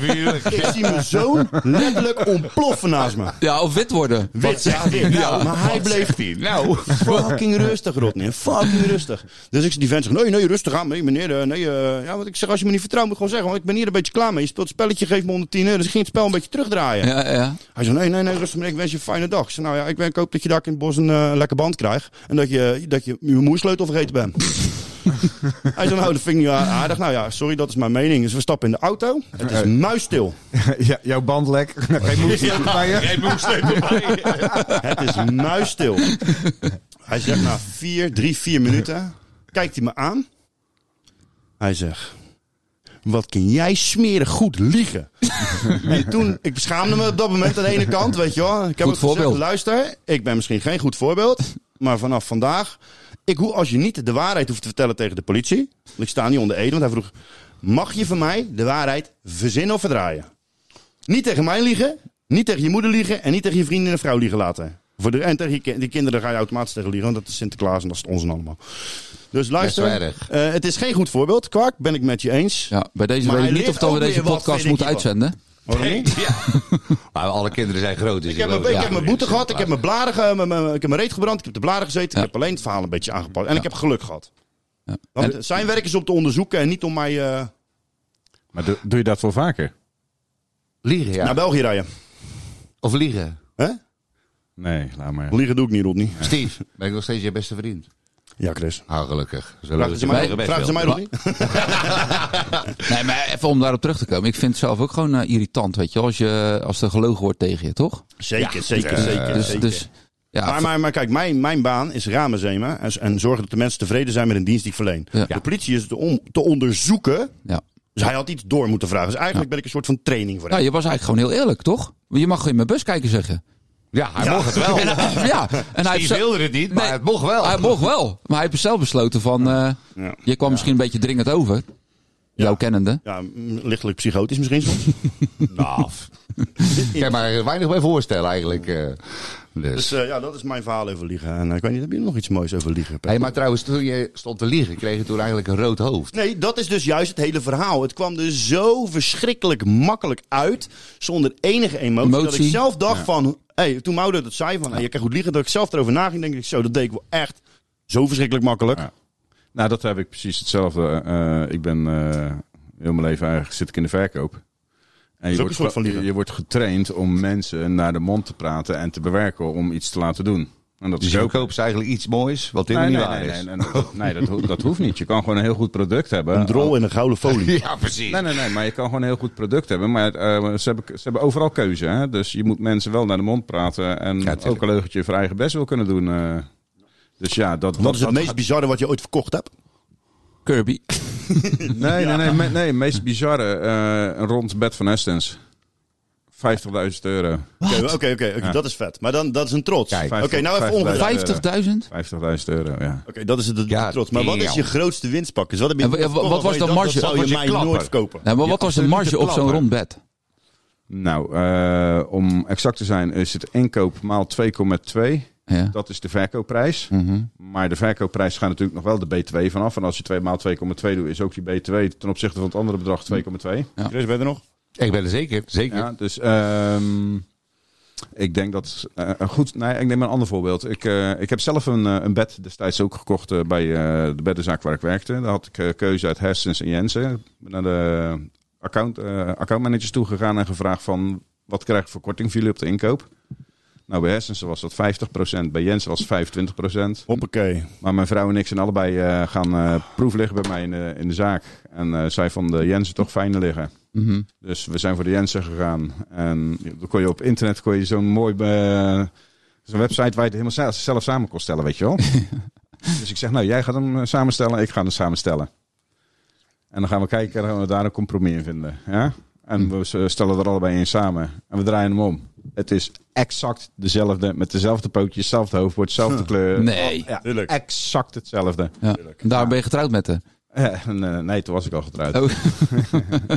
Speaker 2: vuurwerk. Ik zie mijn zoon letterlijk ontploffen naast me.
Speaker 7: Ja, of wit worden.
Speaker 2: Wit, ja, wit. Nou, maar hij bleef nou. fucking rustig, Rodney. Fucking rustig. Dus ik die vent zegt, nee, nee, rustig aan. Nee, meneer, eh, nee. eh, ja, want ik zeg, als je me niet vertrouwt, moet je gewoon zeggen. Want ik ben hier een beetje klaar mee. Je speelt het spelletje, geef me 110 euro. Dus ik ging het spel een beetje terugdraaien.
Speaker 7: Ja, ja.
Speaker 2: Hij zei, nee, nee, nee, rustig meneer, ik wens je een fijne dag. Ik zei, nou ja, ik, ben, ik hoop dat je daar in het bos een eh, lekker band krijgt. En dat je dat je, je moersleutel vergeten bent. Hij zei, nou, dat vind ik niet aardig. Nou ja, sorry, dat is mijn mening. Dus we stappen in de auto. Het is muisstil.
Speaker 8: Ja, jouw band lek. Geen moeite. bij je.
Speaker 2: Het is muisstil. Hij zegt na vier, drie, vier minuten... kijkt hij me aan. Hij zegt... Wat kun jij smerig goed liegen? en toen, ik beschaamde me op dat moment aan de ene kant, weet je wel. Ik heb
Speaker 7: Goed
Speaker 2: ook gezegd,
Speaker 7: voorbeeld.
Speaker 2: luister, ik ben misschien geen goed voorbeeld, maar vanaf vandaag, ik, hoe- als je niet de waarheid hoeft te vertellen tegen de politie, want ik sta niet onder ede, want hij vroeg, mag je van mij de waarheid verzinnen of verdraaien? Niet tegen mij liegen, niet tegen je moeder liegen en niet tegen je vrienden en vrouw liegen laten. Voor de, en tegen je ki- die kinderen daar ga je automatisch tegen liegen, want dat is Sinterklaas en dat is het onzin allemaal. Dus luister,
Speaker 9: wel erg.
Speaker 2: eh, het is geen goed voorbeeld. Kwark, ben ik met je eens.
Speaker 7: ja, bij deze
Speaker 2: Maar
Speaker 7: weet
Speaker 2: hij
Speaker 7: ik niet of
Speaker 2: leert
Speaker 7: dat we
Speaker 2: ook
Speaker 7: deze
Speaker 2: weer wat,
Speaker 7: podcast
Speaker 2: vind
Speaker 7: moeten
Speaker 2: ik hiervan.
Speaker 7: uitzenden.
Speaker 2: Hoor je niet?
Speaker 9: Maar alle kinderen zijn groot. Dus
Speaker 2: Ik heb, mijn, ik heb mijn boete gehad, ik heb mijn blaren, ge- mijn- mijn- ik heb mijn reet gebrand, ik heb de blaren gezeten.
Speaker 7: Ja.
Speaker 2: Ik heb alleen het verhaal een beetje aangepast. En ik heb geluk gehad.
Speaker 7: Ja.
Speaker 2: Want zijn werk is om te onderzoeken en niet om mij eh,
Speaker 8: Maar doe, doe je dat voor vaker?
Speaker 9: Liegen, ja.
Speaker 2: naar België rijden.
Speaker 9: Of liegen.
Speaker 2: Hè?
Speaker 8: Nee, laat maar.
Speaker 2: Liegen doe ik niet, Rodney.
Speaker 9: Steve, ben ik nog steeds je beste vriend?
Speaker 2: Ja, Chris.
Speaker 9: Ah, gelukkig. Zo
Speaker 2: Vragen ze mij, vragen ze mij Rodney?
Speaker 7: Nee, maar even om daarop terug te komen. Ik vind het zelf ook gewoon eh, irritant, weet je, wel, als, je, als er gelogen wordt tegen je, toch?
Speaker 2: Zeker, zeker, zeker.
Speaker 7: Dus,
Speaker 2: zeker.
Speaker 7: dus ja,
Speaker 2: maar, maar, maar kijk, mijn, mijn baan is ramen zemen en, en zorgen dat de mensen tevreden zijn met een dienst die ik verleen.
Speaker 7: Ja.
Speaker 2: De politie is te, on- te onderzoeken,
Speaker 7: ja.
Speaker 2: dus hij had iets door moeten vragen. Dus eigenlijk ben ik een soort van training voor hem.
Speaker 7: Nou, je was eigenlijk gewoon heel eerlijk, toch? Je mag in mijn bus kijken zeggen.
Speaker 9: Ja, hij mocht het wel.
Speaker 7: En, eh, ja, en hij heeft
Speaker 9: Steve
Speaker 7: zelf-
Speaker 9: wilde het niet, maar
Speaker 7: Nee.
Speaker 9: het mocht wel.
Speaker 7: Hij mocht wel, maar hij heeft zelf besloten van... eh,
Speaker 2: Ja.
Speaker 7: Je kwam misschien een beetje dringend over, jouw kennende.
Speaker 2: Ja, mm, lichtelijk psychotisch misschien soms.
Speaker 9: Nou, f- ik kan maar weinig bij voorstellen eigenlijk. eh. Dus.
Speaker 2: Dus eh, ja, dat is mijn verhaal over liegen. En eh, ik weet niet, heb je nog iets moois over liegen? Pep?
Speaker 9: Hey, maar trouwens, toen je stond te liegen, kreeg je toen eigenlijk een rood hoofd.
Speaker 2: Nee, dat is dus juist het hele verhaal. Het kwam er zo verschrikkelijk makkelijk uit, zonder enige emotie, dat
Speaker 7: Emotie.
Speaker 2: ik zelf dacht van... Hey, toen Mauro dat zei, van, hey, je kan goed liegen, dat ik zelf erover na ging, denk ik, zo, dat deed ik wel echt zo verschrikkelijk makkelijk.
Speaker 8: Ja. Nou, dat heb ik precies hetzelfde. Eh, ik ben eh, heel mijn leven eigenlijk zit ik in de verkoop. En
Speaker 2: is
Speaker 8: je
Speaker 2: ook een
Speaker 8: wordt,
Speaker 2: soort van
Speaker 8: ge-
Speaker 2: liegen.
Speaker 8: je wordt getraind om mensen naar de mond te praten en te bewerken om iets te laten doen. En dat
Speaker 9: Dus
Speaker 8: is
Speaker 9: je
Speaker 8: ook.
Speaker 9: koopt ze eigenlijk iets moois, wat
Speaker 8: Nee,
Speaker 9: helemaal
Speaker 8: nee,
Speaker 9: niet waar
Speaker 8: nee,
Speaker 9: is.
Speaker 8: nee, nee, dat- nee, dat, ho- dat hoeft niet. Je kan gewoon een heel goed product hebben. Oh.
Speaker 2: Een drol in een gouden folie.
Speaker 9: Ja, precies.
Speaker 8: Nee, nee, nee, maar je kan gewoon een heel goed product hebben. Maar eh, ze, hebben, ze hebben overal keuze. Hè? Dus je moet mensen wel naar de mond praten. En
Speaker 9: tuurlijk.
Speaker 8: ook een leugentje voor eigen best wil kunnen doen. eh. Dus ja, dat, dat,
Speaker 2: Wat is het
Speaker 8: dat
Speaker 2: meest bizarre wat je ooit verkocht hebt?
Speaker 7: Kirby.
Speaker 8: Nee, nee, nee, me- nee. het meest bizarre. eh, een rond bed van Estens. 50.000 euro.
Speaker 2: Oké, oké, oké, oké, dat is vet. Maar dan, dat is een trots.
Speaker 9: Kijk,
Speaker 2: Oké, nou even
Speaker 8: 50
Speaker 2: omgedraaid. Oké,
Speaker 8: 50.000
Speaker 7: 50.000?
Speaker 8: euro, ja.
Speaker 2: dat is het, dat is
Speaker 9: Ja,
Speaker 2: een trots. Maar wat is je
Speaker 9: tering.
Speaker 2: grootste winstpak? Dus wat, heb je
Speaker 7: En wa-
Speaker 2: nooit
Speaker 7: wa- wat
Speaker 2: verkocht,
Speaker 7: was
Speaker 2: waarvan
Speaker 7: dat
Speaker 2: je
Speaker 9: Wat
Speaker 2: dacht, Dat zou
Speaker 7: marge?
Speaker 2: je
Speaker 9: was
Speaker 2: mij
Speaker 9: je klapper?
Speaker 2: nooit verkopen.
Speaker 7: Nou, maar wat was de marge op zo'n
Speaker 9: klapper.
Speaker 7: rond bed?
Speaker 8: Nou, eh, om exact te zijn is het inkoop maal 2,2.
Speaker 7: Ja. Mhm.
Speaker 8: Dat is de verkoopprijs. Maar de verkoopprijs gaat natuurlijk nog wel de BTW vanaf. En als je 2 maal 2,2 doet, is ook die BTW ten opzichte van het andere bedrag 2,2.
Speaker 2: Chris, ben je er nog?
Speaker 9: Ik ben er zeker, zeker.
Speaker 8: Ja, dus ehm, ik denk dat eh, een goed. Nee, ik neem een ander voorbeeld. Ik, eh, ik heb zelf een, eh, een bed destijds ook gekocht eh, bij eh, de beddenzaak waar ik werkte. Daar had ik eh, keuze uit Hersens en Jensen. Ik ben naar de account, eh, accountmanagers toegegaan en gevraagd van wat krijg ik voor korting voor jullie op de inkoop? Nou, bij Hersens was dat 50%, bij Jensen was het 25%.
Speaker 2: Hoppakee.
Speaker 8: Maar mijn vrouw en ik zijn allebei eh, gaan eh proef liggen bij mij in, de- in de zaak. En eh, zij vonden Jensen toch fijner liggen.
Speaker 7: Mhm.
Speaker 8: Dus we zijn voor de Jensen gegaan. En dan kon je op internet kon je zo'n mooi. eh, zo'n website waar je het helemaal za- zelf samen kon stellen, weet je wel. dus ik zeg, nou, jij gaat hem eh, samenstellen, ik ga hem samenstellen. En dan gaan we kijken en dan gaan we daar een compromis in vinden. Ja? En we s- eh, stellen er allebei in samen. En we draaien hem om. Het is exact dezelfde, met dezelfde pootjes, hetzelfde hoofdwoord, dezelfde kleur.
Speaker 7: Nee.
Speaker 8: Ja,
Speaker 2: Tuurlijk.
Speaker 8: exact hetzelfde.
Speaker 7: Ja. En Daar ben je getrouwd met haar.
Speaker 8: Eh, en, eh, nee, toen was ik al getrouwd.
Speaker 7: Oh.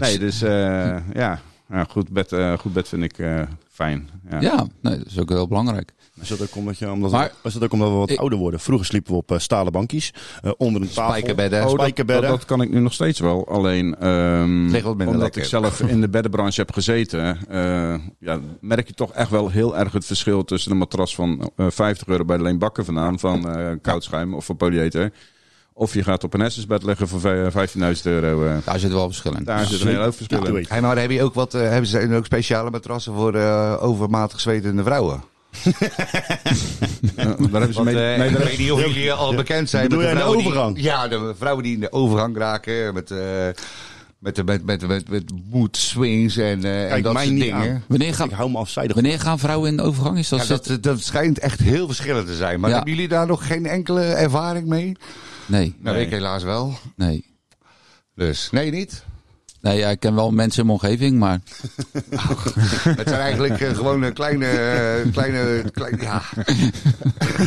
Speaker 8: Nee, dus eh, ja. Ja, goed, bed, eh, goed bed vind ik eh, fijn. Ja.
Speaker 7: Ja, nee, dat is ook heel belangrijk.
Speaker 2: Is dat ook omdat, je, omdat,
Speaker 7: Maar-
Speaker 2: we, is dat ook omdat we wat
Speaker 7: Ik-
Speaker 2: ouder worden? Vroeger sliepen we op eh, stalen bankjes, eh, onder een tafel.
Speaker 1: Spijkerbedden.
Speaker 8: Oh, dat-
Speaker 2: Spijkerbedden.
Speaker 8: Dat, dat kan ik nu nog steeds wel. Alleen ehm,
Speaker 1: Ligt wat minder
Speaker 8: omdat
Speaker 1: lekker.
Speaker 8: ik zelf in de beddenbranche heb gezeten, eh, ja, merk je toch echt wel heel erg het verschil tussen een matras van eh, 50 euro bij de Leenbakker vandaan, van eh koud schuim of van polyether. Of je gaat op een Essensbed leggen voor vij- 15.000 euro. eh.
Speaker 7: Daar zit wel verschil in. Dus
Speaker 8: daar zit een heel hoop verschil in.
Speaker 2: Doe ik.
Speaker 1: Hey, maar heb je ook wat, eh, hebben ze ook speciale matrassen voor eh, overmatig zwetende vrouwen?
Speaker 8: Eh, daar
Speaker 2: Dus
Speaker 8: hebben ze
Speaker 1: Want,
Speaker 8: mee.
Speaker 1: eh,
Speaker 8: nee,
Speaker 1: ik
Speaker 8: daar-
Speaker 1: weet niet of jullie al bekend zijn
Speaker 2: Bedoel
Speaker 1: met de
Speaker 2: jij de
Speaker 1: vrouwen
Speaker 2: overgang?
Speaker 1: Die, ja, de vrouwen die in de overgang raken met, eh met, de- met, met, met, met mood swings en, eh, en dat
Speaker 2: mij
Speaker 1: soort
Speaker 2: niet
Speaker 1: dingen.
Speaker 2: aan.
Speaker 7: Wanneer
Speaker 2: Ik
Speaker 7: gaan,
Speaker 2: hou me afzijdig.
Speaker 7: wanneer gaan vrouwen in de overgang? Is dat,
Speaker 1: Ja,
Speaker 7: zit-
Speaker 1: dat, dat schijnt echt heel verschillend te zijn. Maar
Speaker 7: Ja.
Speaker 1: hebben jullie daar nog geen enkele ervaring mee?
Speaker 7: Nee,
Speaker 1: Nou, ik helaas wel.
Speaker 7: nee.
Speaker 1: Dus, nee niet?
Speaker 7: Nee, ja, ik ken wel mensen in mijn omgeving, maar
Speaker 1: Het zijn eigenlijk eh, gewoon eh, kleine, eh, kleine, kleine, ja. Hoe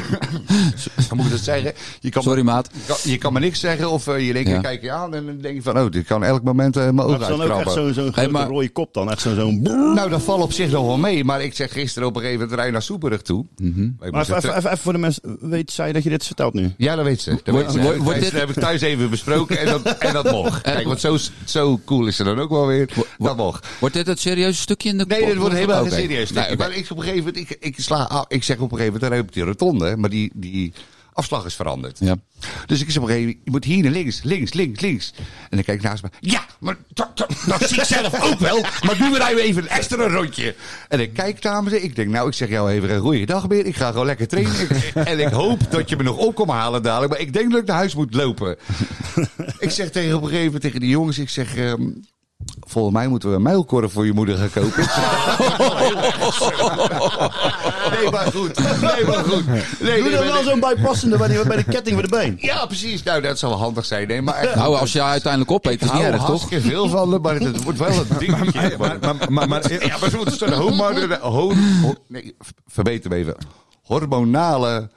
Speaker 1: moet ik dat zeggen? Je kan,
Speaker 7: sorry maat.
Speaker 1: je kan- je kan me niks zeggen of eh, je denkt,
Speaker 7: Ja.
Speaker 1: je kijkt je aan en dan denk je van, oh, dit kan elk moment eh mijn
Speaker 2: Maar het
Speaker 1: ogen
Speaker 2: is dan ook echt
Speaker 1: uitkrabben.
Speaker 2: zo'n zo'n grote
Speaker 7: maar-
Speaker 2: rode kop dan. Echt zo'n... zo'n-
Speaker 1: Nou, dat valt op zich nog wel mee. Maar ik zeg gisteren op een gegeven moment rij naar Soeperig toe. Wij
Speaker 2: Maar
Speaker 1: moesten
Speaker 2: even, even, even voor de mensen. Weet zij dat je dit vertelt nu?
Speaker 1: Ja, dat weet ze. Dat,
Speaker 7: Wordt-
Speaker 1: weet ze.
Speaker 7: wordt- wordt
Speaker 1: Thuis-
Speaker 7: dit-
Speaker 1: dat heb ik thuis even besproken en dat, en dat mocht. Kijk, want zo, zo cool is ze dan ook wel weer. Dat mocht.
Speaker 7: Wordt dit het serieuze stukje in de
Speaker 1: Nee, dit wordt helemaal
Speaker 7: Oké.
Speaker 1: geen serieus.
Speaker 7: Nee,
Speaker 1: Nee,
Speaker 7: oké.
Speaker 1: Maar ik, op een gegeven moment, ik, ik, sla, ah, ik zeg op een gegeven moment, dan heb ik die rotonde. Maar die, die afslag is veranderd.
Speaker 7: Ja.
Speaker 1: Dus ik zeg op een gegeven moment, je moet hier naar links, links, links, links. En dan kijk ik naast me. Ja, maar dat, dat, dat zie ik zelf ook wel. Maar nu rijden we nou even een extra rondje. En ik kijk dames en ik denk, nou, ik zeg jou even een goede dag meer. Ik ga gewoon lekker trainen. Ik- en ik hoop dat je me nog op komt halen dadelijk. Maar ik denk dat ik naar huis moet lopen. ik zeg tegen op een gegeven moment tegen die jongens, ik zeg... ehm, Volgens mij moeten we een mijlkorf voor je moeder gaan kopen. nee, maar goed. Nee, maar goed. Nee, nee,
Speaker 2: Doe dan
Speaker 1: maar
Speaker 2: wel
Speaker 1: nee.
Speaker 2: zo'n bijpassende bij, die, bij de ketting voor de been.
Speaker 1: Ja, precies. Nou, dat zou wel handig zijn. Nee, maar echt,
Speaker 7: Nou, als je uiteindelijk opeet, is niet
Speaker 1: hou
Speaker 7: erg, toch?
Speaker 1: hartstikke veel van hem, maar het, het wordt wel een dingetje.
Speaker 8: Maar, maar, maar, maar-
Speaker 1: ja, maar ze moeten zo'n homo... ho- ho- nee, v- verbeter me even. Hormonale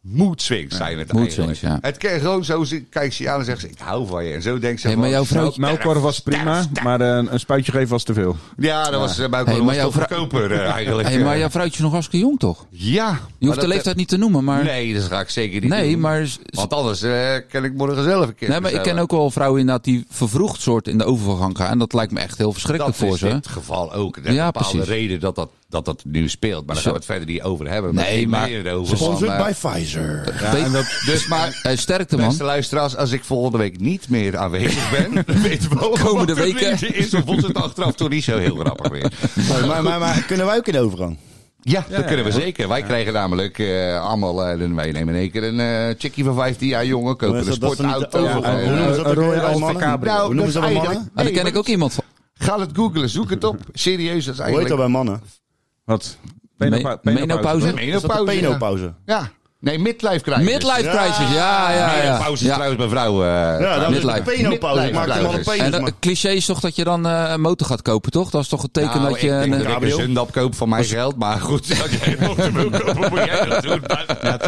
Speaker 1: mood swings zijn het
Speaker 7: mood
Speaker 1: eigenlijk.
Speaker 7: swings, ja.
Speaker 1: Het kan gewoon zo zien, kijk ze je aan en zegt ze, ik hou van je. En zo denkt ze
Speaker 7: Hey, maar
Speaker 1: van,
Speaker 7: jouw vrouw-
Speaker 1: nou,
Speaker 8: Melkkorf was prima, maar eh, een spuitje geven was te veel.
Speaker 1: Ja, dat was bij
Speaker 7: Hey,
Speaker 1: hey,
Speaker 7: maar
Speaker 1: was
Speaker 7: jouw
Speaker 1: toch
Speaker 7: vrou-
Speaker 1: goedkoper eh, eigenlijk.
Speaker 7: Hey, maar jouw vrouwtje is nog hartstikke jong, toch?
Speaker 1: Ja.
Speaker 7: Je
Speaker 1: maar
Speaker 7: hoeft
Speaker 1: dat,
Speaker 7: de
Speaker 1: eh,
Speaker 7: leeftijd niet te noemen, maar...
Speaker 1: Nee, dat ga ik zeker niet
Speaker 7: Nee,
Speaker 1: doen.
Speaker 7: maar... s- s-
Speaker 1: Want anders eh, kan ik morgen zelf een keer
Speaker 7: Nee, maar ik ken
Speaker 1: bestellen.
Speaker 7: ook wel vrouwen inderdaad die vervroegd soort in de overgang gaan. En dat lijkt me echt heel verschrikkelijk
Speaker 1: dat
Speaker 7: voor
Speaker 1: is
Speaker 7: ze.
Speaker 1: het geval ook. Er is
Speaker 7: Ja,
Speaker 1: een bepaalde
Speaker 7: precies.
Speaker 1: reden dat dat, dat dat nu speelt. Maar daar gaan we het verder niet over hebben. Maar
Speaker 7: Nee,
Speaker 1: ik
Speaker 7: maar-
Speaker 1: meen het over
Speaker 2: Sponsored
Speaker 1: van, eh,
Speaker 2: bij Pfizer.
Speaker 7: Weet-
Speaker 1: Dus maar,
Speaker 7: Hey, sterkte, man.
Speaker 1: beste luisteraars, als ik volgende week niet meer aanwezig ben... dan weten we ook
Speaker 7: Komende
Speaker 1: wat de
Speaker 7: weken.
Speaker 1: liefde is. Of ons het achteraf toch niet zo heel grappig weer.
Speaker 2: Maar, maar, maar, maar kunnen wij ook in de overgang?
Speaker 1: Ja, dat kunnen we zeker. Wij krijgen namelijk eh, allemaal... eh, dan wij nemen in één keer een eh chickie van 15 jaar jongen. Kopen
Speaker 2: Maar
Speaker 1: een
Speaker 2: is dat- dat is niet de
Speaker 1: sportauto.
Speaker 2: overgang?
Speaker 1: eh, nou,
Speaker 2: Hoe noemen ze dat ook
Speaker 8: Royal
Speaker 2: weer bij
Speaker 8: Alpha
Speaker 2: mannen?
Speaker 8: Cabrio.
Speaker 2: Hoe noemen ze dat bij
Speaker 1: eigenlijk-
Speaker 2: mannen?
Speaker 7: Ah, daar ken
Speaker 1: maar
Speaker 7: ik ook iemand van.
Speaker 1: Ga het googlen, zoek het op. Serieus, dat is
Speaker 2: Hoe heet
Speaker 1: eigenlijk...
Speaker 2: dat bij mannen?
Speaker 8: Wat?
Speaker 7: Me- menopauze.
Speaker 1: Nee,
Speaker 2: Is dat de
Speaker 1: menopauze, ja.
Speaker 2: penopauze?
Speaker 1: Ja. Nee, midlife crisis.
Speaker 7: Midlife crisis, ja, ja, ja.
Speaker 1: Nee, pauze is trouwens bij vrouwen. eh,
Speaker 2: Ja, dat is de
Speaker 7: midlife.
Speaker 2: penopauze. Ik
Speaker 1: Midlife.
Speaker 2: maak hem al een
Speaker 1: Midlife.
Speaker 7: En
Speaker 2: penis,
Speaker 7: dat-
Speaker 2: man.
Speaker 7: het cliché is toch dat je dan eh, een motor gaat kopen, toch? Dat is toch het teken
Speaker 1: nou,
Speaker 7: dat je...
Speaker 1: Ik denk
Speaker 7: een- eh,
Speaker 1: dat ik
Speaker 2: cabrio.
Speaker 1: een zundap koop van mijn geld, maar goed. Als jij een motor wil kopen, moet jij dat doen. Maar-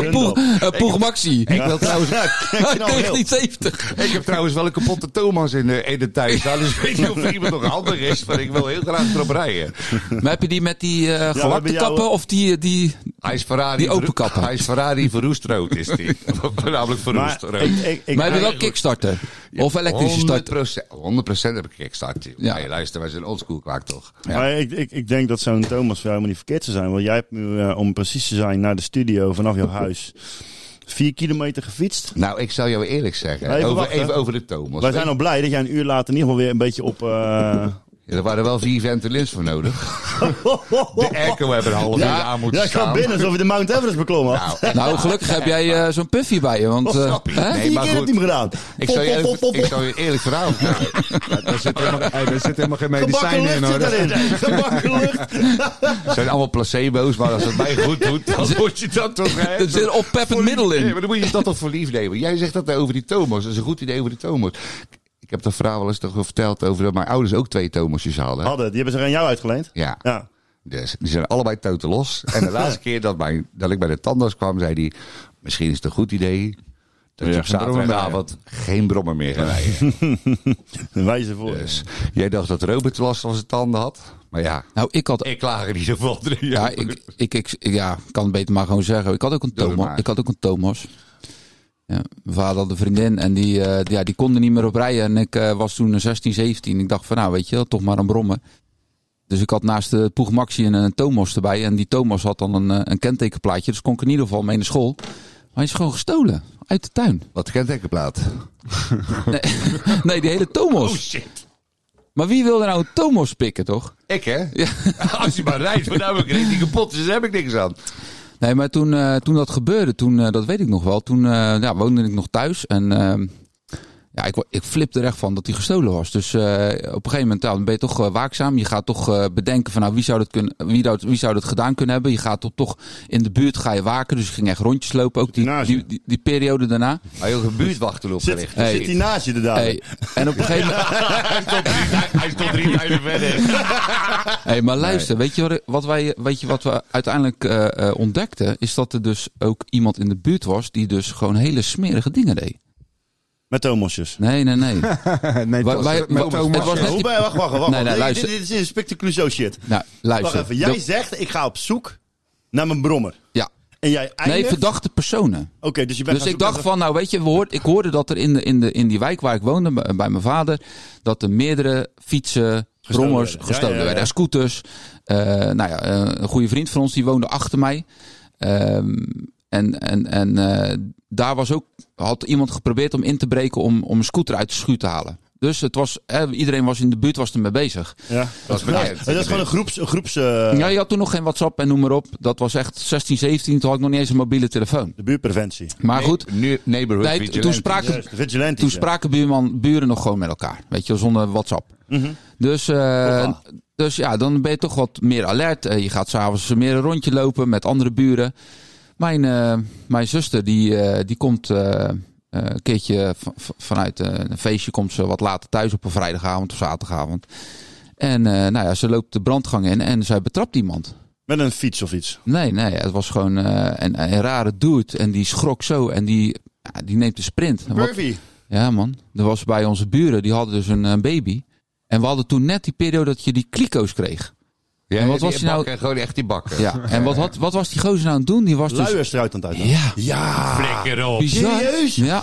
Speaker 7: een Poeg, een Poeg Maxi.
Speaker 1: Ik wil
Speaker 2: nou-
Speaker 1: trouwens...
Speaker 2: knal heel.
Speaker 7: 1970.
Speaker 1: Ik heb trouwens wel een kapotte Thomas in de, in de tuin staan. Dus ik weet niet of er iemand nog handig is, maar ik wil heel graag erop rijden.
Speaker 7: Maar heb je die met die eh
Speaker 2: we
Speaker 7: gelakte
Speaker 2: hebben jou-
Speaker 7: kappen of die... eh, die...
Speaker 1: Hij is Ferrari...
Speaker 7: Die openkappen.
Speaker 1: Hij is Ferrari verroestrood, is die. Namelijk
Speaker 2: Maar ik,
Speaker 1: verroestrood.
Speaker 2: ik, ik,
Speaker 7: maar heb je wel
Speaker 2: ik-
Speaker 7: kickstarter? Of elektrische starter?
Speaker 1: 100%, 100% heb ik kickstart.
Speaker 7: Ja.
Speaker 1: Ja. Hey, luister, wij zijn oldschool kwaak toch?
Speaker 2: Maar ik, ik, ik denk dat zo'n Thomas voor jou helemaal niet verkeerd zou zijn. Want jij hebt nu, eh, om precies te zijn, naar de studio vanaf jouw huis vier kilometer gefietst.
Speaker 1: Nou, ik zou jou eerlijk zeggen.
Speaker 2: Even
Speaker 1: over,
Speaker 2: wachten.
Speaker 1: even over de Thomas.
Speaker 2: Wij zijn al blij dat jij een uur later in ieder geval weer een beetje op, eh,
Speaker 1: Ja, er waren wel vier ventilins voor nodig. De airco hebben een half uur aan moeten
Speaker 2: Ja, ik kwam
Speaker 1: staan.
Speaker 2: binnen alsof je de Mount Everest beklommen had.
Speaker 1: Nou,
Speaker 7: Nou, gelukkig heb jij eh, zo'n puffy bij je. Want, eh,
Speaker 1: snap je.
Speaker 7: hè?
Speaker 1: Nee,
Speaker 2: Vier
Speaker 1: maar
Speaker 2: keer heb
Speaker 1: goed.
Speaker 2: je hem gedaan.
Speaker 1: Ik zou je,
Speaker 2: Pop, pop,
Speaker 1: even-
Speaker 2: pop, pop,
Speaker 1: ik
Speaker 2: pop.
Speaker 1: zou je een eerlijk verhaal vertellen.
Speaker 8: Er zit helemaal, hey, er zit helemaal geen
Speaker 2: Gebakken
Speaker 8: medicijnen in.
Speaker 2: lucht
Speaker 8: Hoor.
Speaker 2: zit erin. Gebakken lucht.
Speaker 1: Het zijn allemaal placebo's, maar als het mij goed doet, dan moet je dat toch... hè?
Speaker 7: Er zit een oppeppend middel
Speaker 1: Nee,
Speaker 7: in.
Speaker 1: maar dan moet je dat toch voor lief nemen. Jij zegt dat over die Thomas. Dat is een goed idee over die Thomas. Ik heb dat verhaal wel eens toch wel verteld over dat mijn ouders ook twee Thomasjes hadden.
Speaker 2: Hadden, die hebben ze aan jou uitgeleend.
Speaker 1: Ja.
Speaker 2: Ja.
Speaker 1: Dus die zijn allebei toten los. En de laatste keer dat, mijn, dat ik bij de tandarts kwam, zei hij... Misschien is het een goed idee dat je
Speaker 8: Ja,
Speaker 1: op
Speaker 8: geen brommer meer.
Speaker 1: zaterdagavond geen brommer meer gaat rijden.
Speaker 2: Een wijze voor.
Speaker 1: Dus jij dacht dat Robert last van zijn tanden had. Maar ja,
Speaker 7: Nou, ik had...
Speaker 1: ik klaag er niet zoveel drie
Speaker 7: Ja,
Speaker 1: jaar.
Speaker 7: ik, ik, ik, ik- ja, ik kan het beter maar gewoon zeggen. Ik had ook een
Speaker 1: Doe het
Speaker 7: Thomas.
Speaker 1: maar.
Speaker 7: Ik had ook een Thomas. Ja, mijn vader had een vriendin en die, eh, die- ja, die kon er niet meer op rijden. En ik eh, was toen 16, 17. Ik dacht van nou, weet je wel, toch maar een brommen. Dus ik had naast de Poeg Maxi een, een Thomas erbij. En die Thomas had dan een, eh, een kentekenplaatje. Dus kon ik in ieder geval mee naar school. Maar hij is gewoon gestolen. Uit de tuin.
Speaker 1: Wat kentekenplaat.
Speaker 7: Nee, die hele Thomas.
Speaker 1: Oh, shit.
Speaker 7: Maar wie wil er nou een Thomas pikken, toch?
Speaker 1: Ik hè?
Speaker 7: Ja.
Speaker 1: Als je maar rijdt, want nou heb ik er die kapot is, daar heb ik niks aan.
Speaker 7: Nee, maar toen, eh, toen dat gebeurde, toen, eh, dat weet ik nog wel. Toen eh, ja, woonde ik nog thuis en ehm, ja, ik, wa- ik flipte er echt van dat hij gestolen was. Dus eh, op een gegeven moment ja, dan ben je toch eh, waakzaam. Je gaat toch eh, bedenken van nou, wie, zou dat kunnen, wie, dat, wie zou dat gedaan kunnen hebben. Je gaat toch, toch in de buurt ga je waken. Dus ik ging echt rondjes lopen, ook die,
Speaker 2: Naast je.
Speaker 7: die, die, die periode daarna.
Speaker 1: Hij heeft een buurtwacht erop
Speaker 2: Zit,
Speaker 1: gericht.
Speaker 7: Hey.
Speaker 2: zit die naast je inderdaad?
Speaker 7: Hey, en op een gegeven moment...
Speaker 1: Hij stond drie mijlen verder.
Speaker 7: Hey, maar luister, weet, je wat, wat wij, weet je wat we uiteindelijk eh, eh, ontdekten? Is dat er dus ook iemand in de buurt was die dus gewoon hele smerige dingen deed.
Speaker 2: Met Thomasjes.
Speaker 7: Nee, nee, nee.
Speaker 8: Nee,
Speaker 7: Wij-
Speaker 8: dat-
Speaker 7: wij-
Speaker 8: met
Speaker 7: maar-
Speaker 8: Thomas.
Speaker 7: het was net
Speaker 2: Hoe
Speaker 7: die-
Speaker 2: ben je? Wacht, wacht, wacht.
Speaker 7: Nee, nee,
Speaker 2: Dit-
Speaker 7: luister.
Speaker 2: Dit, dit is Inspector Clouseau shit.
Speaker 7: Nou, luister.
Speaker 2: Wacht even. Jij
Speaker 7: De-
Speaker 2: zegt, ik ga op zoek naar mijn brommer.
Speaker 7: ja.
Speaker 2: En jij eindigt...
Speaker 7: Nee, verdachte personen.
Speaker 2: Oké, dus je bent gaan
Speaker 7: Dus ik
Speaker 2: zoeken
Speaker 7: dacht van, nou weet je, we hoort, ik hoorde dat er in, de, in, de, in die wijk waar ik woonde, bij bij mijn vader, dat er meerdere fietsen, brommers
Speaker 2: werden. Ja,
Speaker 7: gestolen
Speaker 2: ja, ja, ja.
Speaker 7: werden. En scooters. Eh, nou ja, eh, een goede vriend van ons, die woonde achter mij. Ehm, en en, en eh, daar was ook, had iemand geprobeerd om in te breken om, om een scooter uit de schuur te halen. Dus het was, eh, iedereen was in de buurt was ermee bezig.
Speaker 2: Ja.
Speaker 1: Dat is
Speaker 2: Ja,
Speaker 1: bekend.
Speaker 2: dat is gewoon een groeps... Een groeps eh,
Speaker 7: ja, je had toen nog geen WhatsApp en noem maar op. Dat was echt 16, 17. Toen had ik nog niet eens een mobiele telefoon.
Speaker 2: De buurtpreventie.
Speaker 7: Maar goed,
Speaker 1: Nu neighborhood
Speaker 7: nee,
Speaker 1: vigilante.
Speaker 7: toen spraken,
Speaker 2: Juist, de vigilante.
Speaker 7: toen spraken buurman, buren nog gewoon met elkaar. Weet je, zonder WhatsApp. Dus, eh,
Speaker 2: Opa.
Speaker 7: dus ja, dan ben je toch wat meer alert. Eh, je gaat s'avonds meer een rondje lopen met andere buren. Mijn, eh, mijn zuster, die, eh, die komt eh, eh, een keertje v- v- vanuit eh, een feestje. Komt ze wat later thuis op een vrijdagavond of zaterdagavond. En eh, nou ja, ze loopt de brandgang in en zij betrapt iemand.
Speaker 2: Met een fiets of iets.
Speaker 7: Nee, nee, het was gewoon eh, een, een rare dude. En die schrok zo en die, ja, die neemt de sprint. En wat-
Speaker 2: Murphy.
Speaker 7: ja, man. Er was bij onze buren, die hadden dus een eh, baby. En we hadden toen net die periode dat je die kliko's kreeg.
Speaker 1: Ja,
Speaker 7: En wat
Speaker 1: die
Speaker 7: was je nou-
Speaker 1: bakken, Gewoon echt die bakken.
Speaker 7: Ja. En wat, had, wat was die gozer nou aan het doen? Die was dus...
Speaker 2: Luiers eruit aan het uitdagen.
Speaker 7: Ja,
Speaker 1: Flikker op.
Speaker 7: bizar.
Speaker 2: Serieus?
Speaker 7: Ja.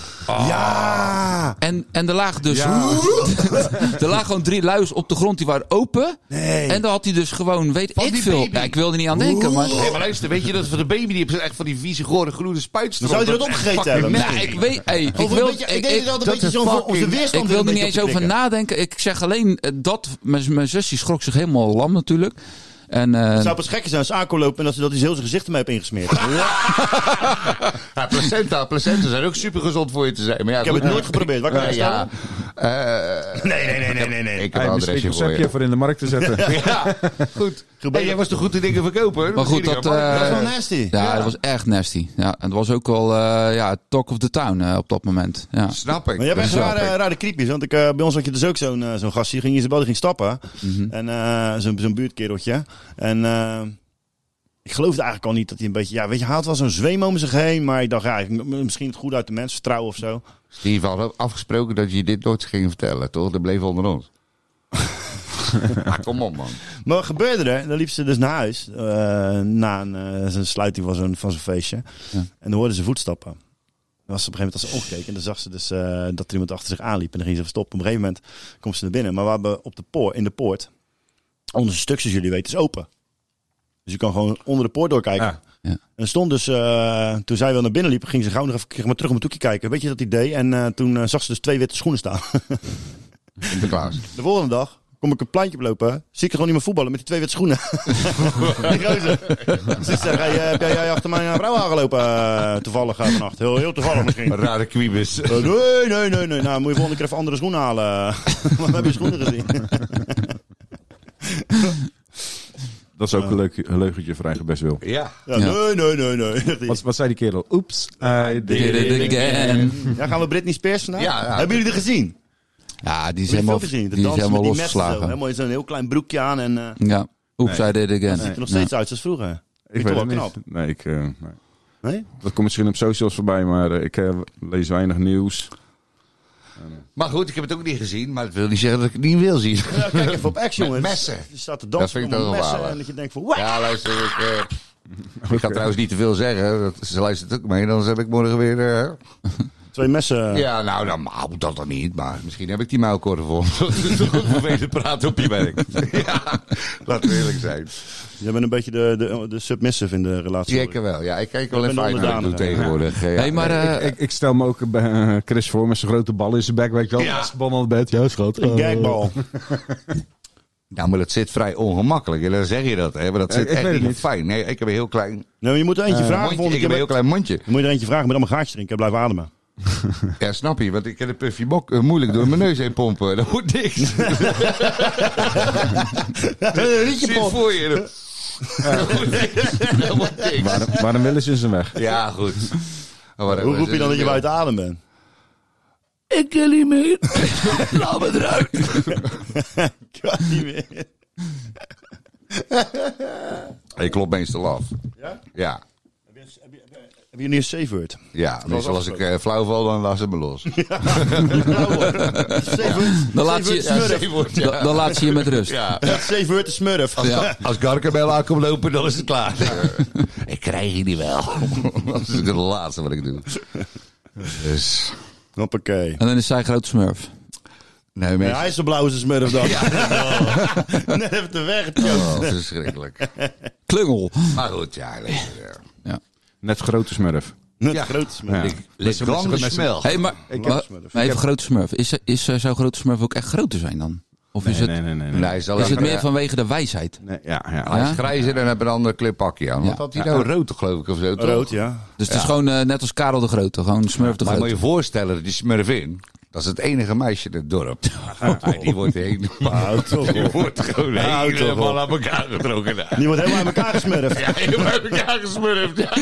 Speaker 7: ja. En, en er lagen dus... er lagen gewoon drie luiers op de grond, die waren open. En dan had hij dus gewoon, weet ik
Speaker 1: die
Speaker 7: veel...
Speaker 1: baby.
Speaker 7: Ja, ik wilde er niet aan denken, maar...
Speaker 1: Nee, maar luister, weet je dat van de baby die heeft echt van die vieze, gore, groene spuitstroom.
Speaker 2: Zou je dat
Speaker 1: is echt
Speaker 2: opgegeten
Speaker 1: fucking
Speaker 2: hebben?
Speaker 7: Nou,
Speaker 1: nasty.
Speaker 7: ik weet... Hey, ik,
Speaker 2: Of een
Speaker 7: wil,
Speaker 2: beetje, ik
Speaker 7: ik,
Speaker 2: denk
Speaker 7: ik,
Speaker 2: dat het een beetje zo van onze weerstand
Speaker 7: ik wil
Speaker 2: er
Speaker 7: er
Speaker 2: een
Speaker 7: niet eens
Speaker 2: beetje op
Speaker 7: over
Speaker 2: te
Speaker 7: nadenken. Ik zeg alleen eh, dat... Mijn mijn zus die schrok zich helemaal lam natuurlijk. En, eh,
Speaker 2: Het zou pas gekker zijn als Ako loopt en dat ze dat hij heel zijn gezicht ermee heeft ingesmeerd. ik
Speaker 1: Ja, placenta, placenta zijn ook super gezond voor je te zijn. Maar ja,
Speaker 2: heb het nooit geprobeerd. Waar kan ik
Speaker 1: ja, ja.
Speaker 2: aan
Speaker 1: Eh,
Speaker 2: staan? Nee, nee, nee, nee, nee. nee.
Speaker 1: ik heb
Speaker 8: Hey,
Speaker 1: een
Speaker 8: misschien
Speaker 1: adresje
Speaker 8: een
Speaker 1: voor
Speaker 8: zakje
Speaker 1: je.
Speaker 8: voor in de markt te zetten.
Speaker 1: Ja, goed. Hey, jij was de goede dingen verkoper.
Speaker 7: Maar goed, dat,
Speaker 2: Dat is
Speaker 7: eh,
Speaker 2: wel nasty.
Speaker 7: ja, dat was echt nasty. Ja, en het was ook wel eh, ja, talk of the town eh, op dat moment. Ja.
Speaker 1: Snap ik.
Speaker 2: Maar jij bent echt
Speaker 1: Dat
Speaker 2: rare,
Speaker 1: snap ik.
Speaker 2: rare creepjes. Want ik, eh, bij ons had je dus ook zo'n eh, zo'n gast. Die ging Isabel, die ging stappen.
Speaker 1: Mhm.
Speaker 2: En eh, zo'n zo'n buurtkereltje. En eh, ik geloofde eigenlijk al niet dat hij een beetje... Ja, weet je, hij had wel zo'n zweem om zich heen. Maar ik dacht, ja, ik- m- misschien het goed uit de mensen vertrouwen of zo.
Speaker 1: Steve had afgesproken dat je dit nooit ging vertellen, toch? Dat bleef onder ons. ah, kom op, man.
Speaker 2: Maar wat gebeurde er? Dan liep ze dus naar huis. eh, na een, eh, zijn sluiting van zo'n, van zo'n feestje. En dan hoorde ze voetstappen. Dan was ze op een gegeven moment als ze omkeek. En dan zag ze dus eh, dat er iemand achter zich aanliep. En dan ging ze even stoppen. Op een gegeven moment komt ze naar binnen. Maar we hebben op de poort, in de poort... Onze stuk, zoals jullie weten, is open. Dus je kan gewoon onder de poort doorkijken.
Speaker 8: Ja.
Speaker 7: Ja.
Speaker 2: En er stond dus, eh, toen zij wel naar binnen liep, ging ze gauw nog even zeg maar, terug om het toekje kijken. Weet je dat idee? En eh, toen eh, zag ze dus twee witte schoenen staan.
Speaker 1: Sinterklaas.
Speaker 2: De volgende dag kom ik een plantje oplopen, zie ik er gewoon niet meer voetballen met die twee witte schoenen. die gozer. Dus ik zeg, hey, eh, heb jij- jij achter mijn vrouw aangelopen eh, toevallig eh, vannacht? Heel, heel toevallig misschien.
Speaker 1: Rare kwiebus.
Speaker 2: Eh, Nee, nee, nee, nee. Nou, moet je volgende keer even andere schoenen halen. Want we hebben je schoenen gezien.
Speaker 8: Dat is ook een, leuk, een leugentje voor eigen best wil.
Speaker 1: Ja.
Speaker 2: Ja,
Speaker 7: Ja.
Speaker 2: Nee, nee, nee, nee. zegt hij.
Speaker 8: Wat, wat zei die kerel? Oeps. I did
Speaker 7: Did
Speaker 8: it.
Speaker 7: it again.
Speaker 2: Ja, gaan we Britney Spears vandaag?
Speaker 1: Ja, ja.
Speaker 2: Hebben jullie er gezien?
Speaker 7: Ja, die
Speaker 2: Heb
Speaker 7: is
Speaker 2: je
Speaker 7: helemaal,
Speaker 2: veel gezien? De
Speaker 7: die is
Speaker 2: dansen met
Speaker 7: helemaal
Speaker 2: die messen Zo,
Speaker 7: losgeslagen.
Speaker 2: helemaal zo'n heel klein broekje aan en eh ziet
Speaker 7: Ja. Oeps, I did it again.
Speaker 2: er nog
Speaker 7: Ja.
Speaker 2: steeds uit zoals vroeger.
Speaker 8: Ik
Speaker 2: vind
Speaker 8: weet
Speaker 2: het
Speaker 8: het
Speaker 2: wel
Speaker 8: niet. Nee, ik, eh, nee.
Speaker 2: Nee?
Speaker 8: Dat komt misschien op socials voorbij, maar eh, ik eh, lees weinig nieuws.
Speaker 1: Maar goed, ik heb het ook niet gezien. Maar dat wil niet zeggen dat ik het niet wil zien.
Speaker 2: Nou, kijk even op X, jongens.
Speaker 1: messen.
Speaker 2: Je staat te dansen
Speaker 1: Dat vind ik
Speaker 2: met
Speaker 1: toch wel
Speaker 2: messen
Speaker 1: waardig.
Speaker 2: en dat je denkt van... Wah!
Speaker 1: Ja, luister, ik... eh, Ik ga trouwens niet te veel zeggen. Dat, ze luistert ook mee. Anders heb ik morgen weer... eh,
Speaker 2: Twee messen.
Speaker 1: Ja, nou, dan hou dat dan niet. Maar misschien heb ik die muilkorf voor. Vervelend praten op je werk. ja, laten we eerlijk zijn.
Speaker 2: Je bent een beetje de, de, de submissive in de relatie.
Speaker 1: Zeker wel. Ja, ik kijk wel
Speaker 2: Ik
Speaker 1: even
Speaker 2: ben
Speaker 1: uit naar
Speaker 2: onderdanig,
Speaker 1: toe
Speaker 2: hè.
Speaker 1: tegenwoordig. Ja.
Speaker 7: Hey, maar eh,
Speaker 8: ik, ik stel me ook eh, Chris voor met zijn grote bal in zijn bek. Weet je wel,
Speaker 1: Ja.
Speaker 8: Als de bal aan het bed. Eh, Ja, schat.
Speaker 2: Een gagbal.
Speaker 1: Nou, maar dat zit vrij ongemakkelijk. En dan zeg je dat, hè. Maar dat
Speaker 8: Eh,
Speaker 1: zit
Speaker 8: ik weet
Speaker 1: echt
Speaker 8: het
Speaker 1: niet
Speaker 8: niet.
Speaker 1: fijn. Nee, ik heb een heel klein
Speaker 2: Nee, maar je moet er eentje vragen.
Speaker 1: mondje.
Speaker 2: Volgende
Speaker 1: Ik heb een
Speaker 2: keer
Speaker 1: heel klein mondje.
Speaker 2: moet je er eentje vragen met allemaal gaatjes erin. Ik blijf ademen.
Speaker 1: Ja, snap je. Want ik kan de puffy bok eh, moeilijk door mijn neus heen pompen. Dat moet niks. Zit voor je. Dat wordt niks. Dat wordt niks.
Speaker 8: Waarom, waarom willen ze zijn weg?
Speaker 1: Ja, goed. Maar wat-
Speaker 2: Hoe roep je dan dat je buiten adem bent?
Speaker 1: Ik wil niet meer. Laat me eruit.
Speaker 2: Ja, niet meer.
Speaker 1: Ik klop meestal af.
Speaker 2: Ja?
Speaker 1: Ja.
Speaker 2: Hebben jullie een safe word?
Speaker 1: Ja, meestal als ik eh, flauw val, dan laat ze me los.
Speaker 2: Safe word.
Speaker 7: dan, laat
Speaker 1: Nou,
Speaker 7: je,
Speaker 1: Ja, zeewoord, ja.
Speaker 7: dan, dan laat ze je met rust.
Speaker 1: Ja.
Speaker 2: Safe word is smurf.
Speaker 7: Ja.
Speaker 1: Als Gargamel aankomt lopen, dan is het klaar. ik krijg jullie wel. dat is het laatste wat ik doe. Dus...
Speaker 2: Hoppakee.
Speaker 7: En dan is zij groot smurf.
Speaker 1: Nee,
Speaker 2: Ja,
Speaker 1: mensen.
Speaker 2: hij is zo blauw als een smurf dan. Net even te weg.
Speaker 1: Oh, verschrikkelijk.
Speaker 7: Klungel.
Speaker 1: Maar goed, ja. eh, lekker,
Speaker 8: Net grote smurf.
Speaker 2: Net
Speaker 1: Ja.
Speaker 2: groot smurf.
Speaker 1: ja.
Speaker 8: Ja.
Speaker 1: Ik lig gang smel.
Speaker 7: Hey, maar, maar-
Speaker 2: smurf.
Speaker 7: maar even grote smurf. Is, is, eh, zou grote smurf ook echt groter zijn dan? Of
Speaker 8: Nee,
Speaker 7: is het,
Speaker 8: nee, nee, nee, nee.
Speaker 1: Nee, Ah, hij is, al
Speaker 7: is het
Speaker 1: even- eh,
Speaker 7: meer vanwege de wijsheid?
Speaker 8: Nee, ja, ja.
Speaker 1: Hij
Speaker 7: Ja?
Speaker 1: is grijs en hij heeft een ander kleurpakje aan. Wat
Speaker 7: Ja.
Speaker 1: had hij nou? Rood, geloof ik, of zo. toch?
Speaker 2: Rood, ja.
Speaker 7: Dus het is gewoon eh, net als Karel de Grote. Gewoon smurf de
Speaker 1: Maar moet
Speaker 7: Grote.
Speaker 1: je voorstellen, die smurfin, dat is het enige meisje in het dorp. Ah, die wordt helemaal, die wordt gewoon
Speaker 2: Houd toch op.
Speaker 1: helemaal aan elkaar getrokken. daar.
Speaker 2: Die wordt helemaal aan elkaar gesmurfd.
Speaker 1: Ja, helemaal uit elkaar gesmurfd. Ja.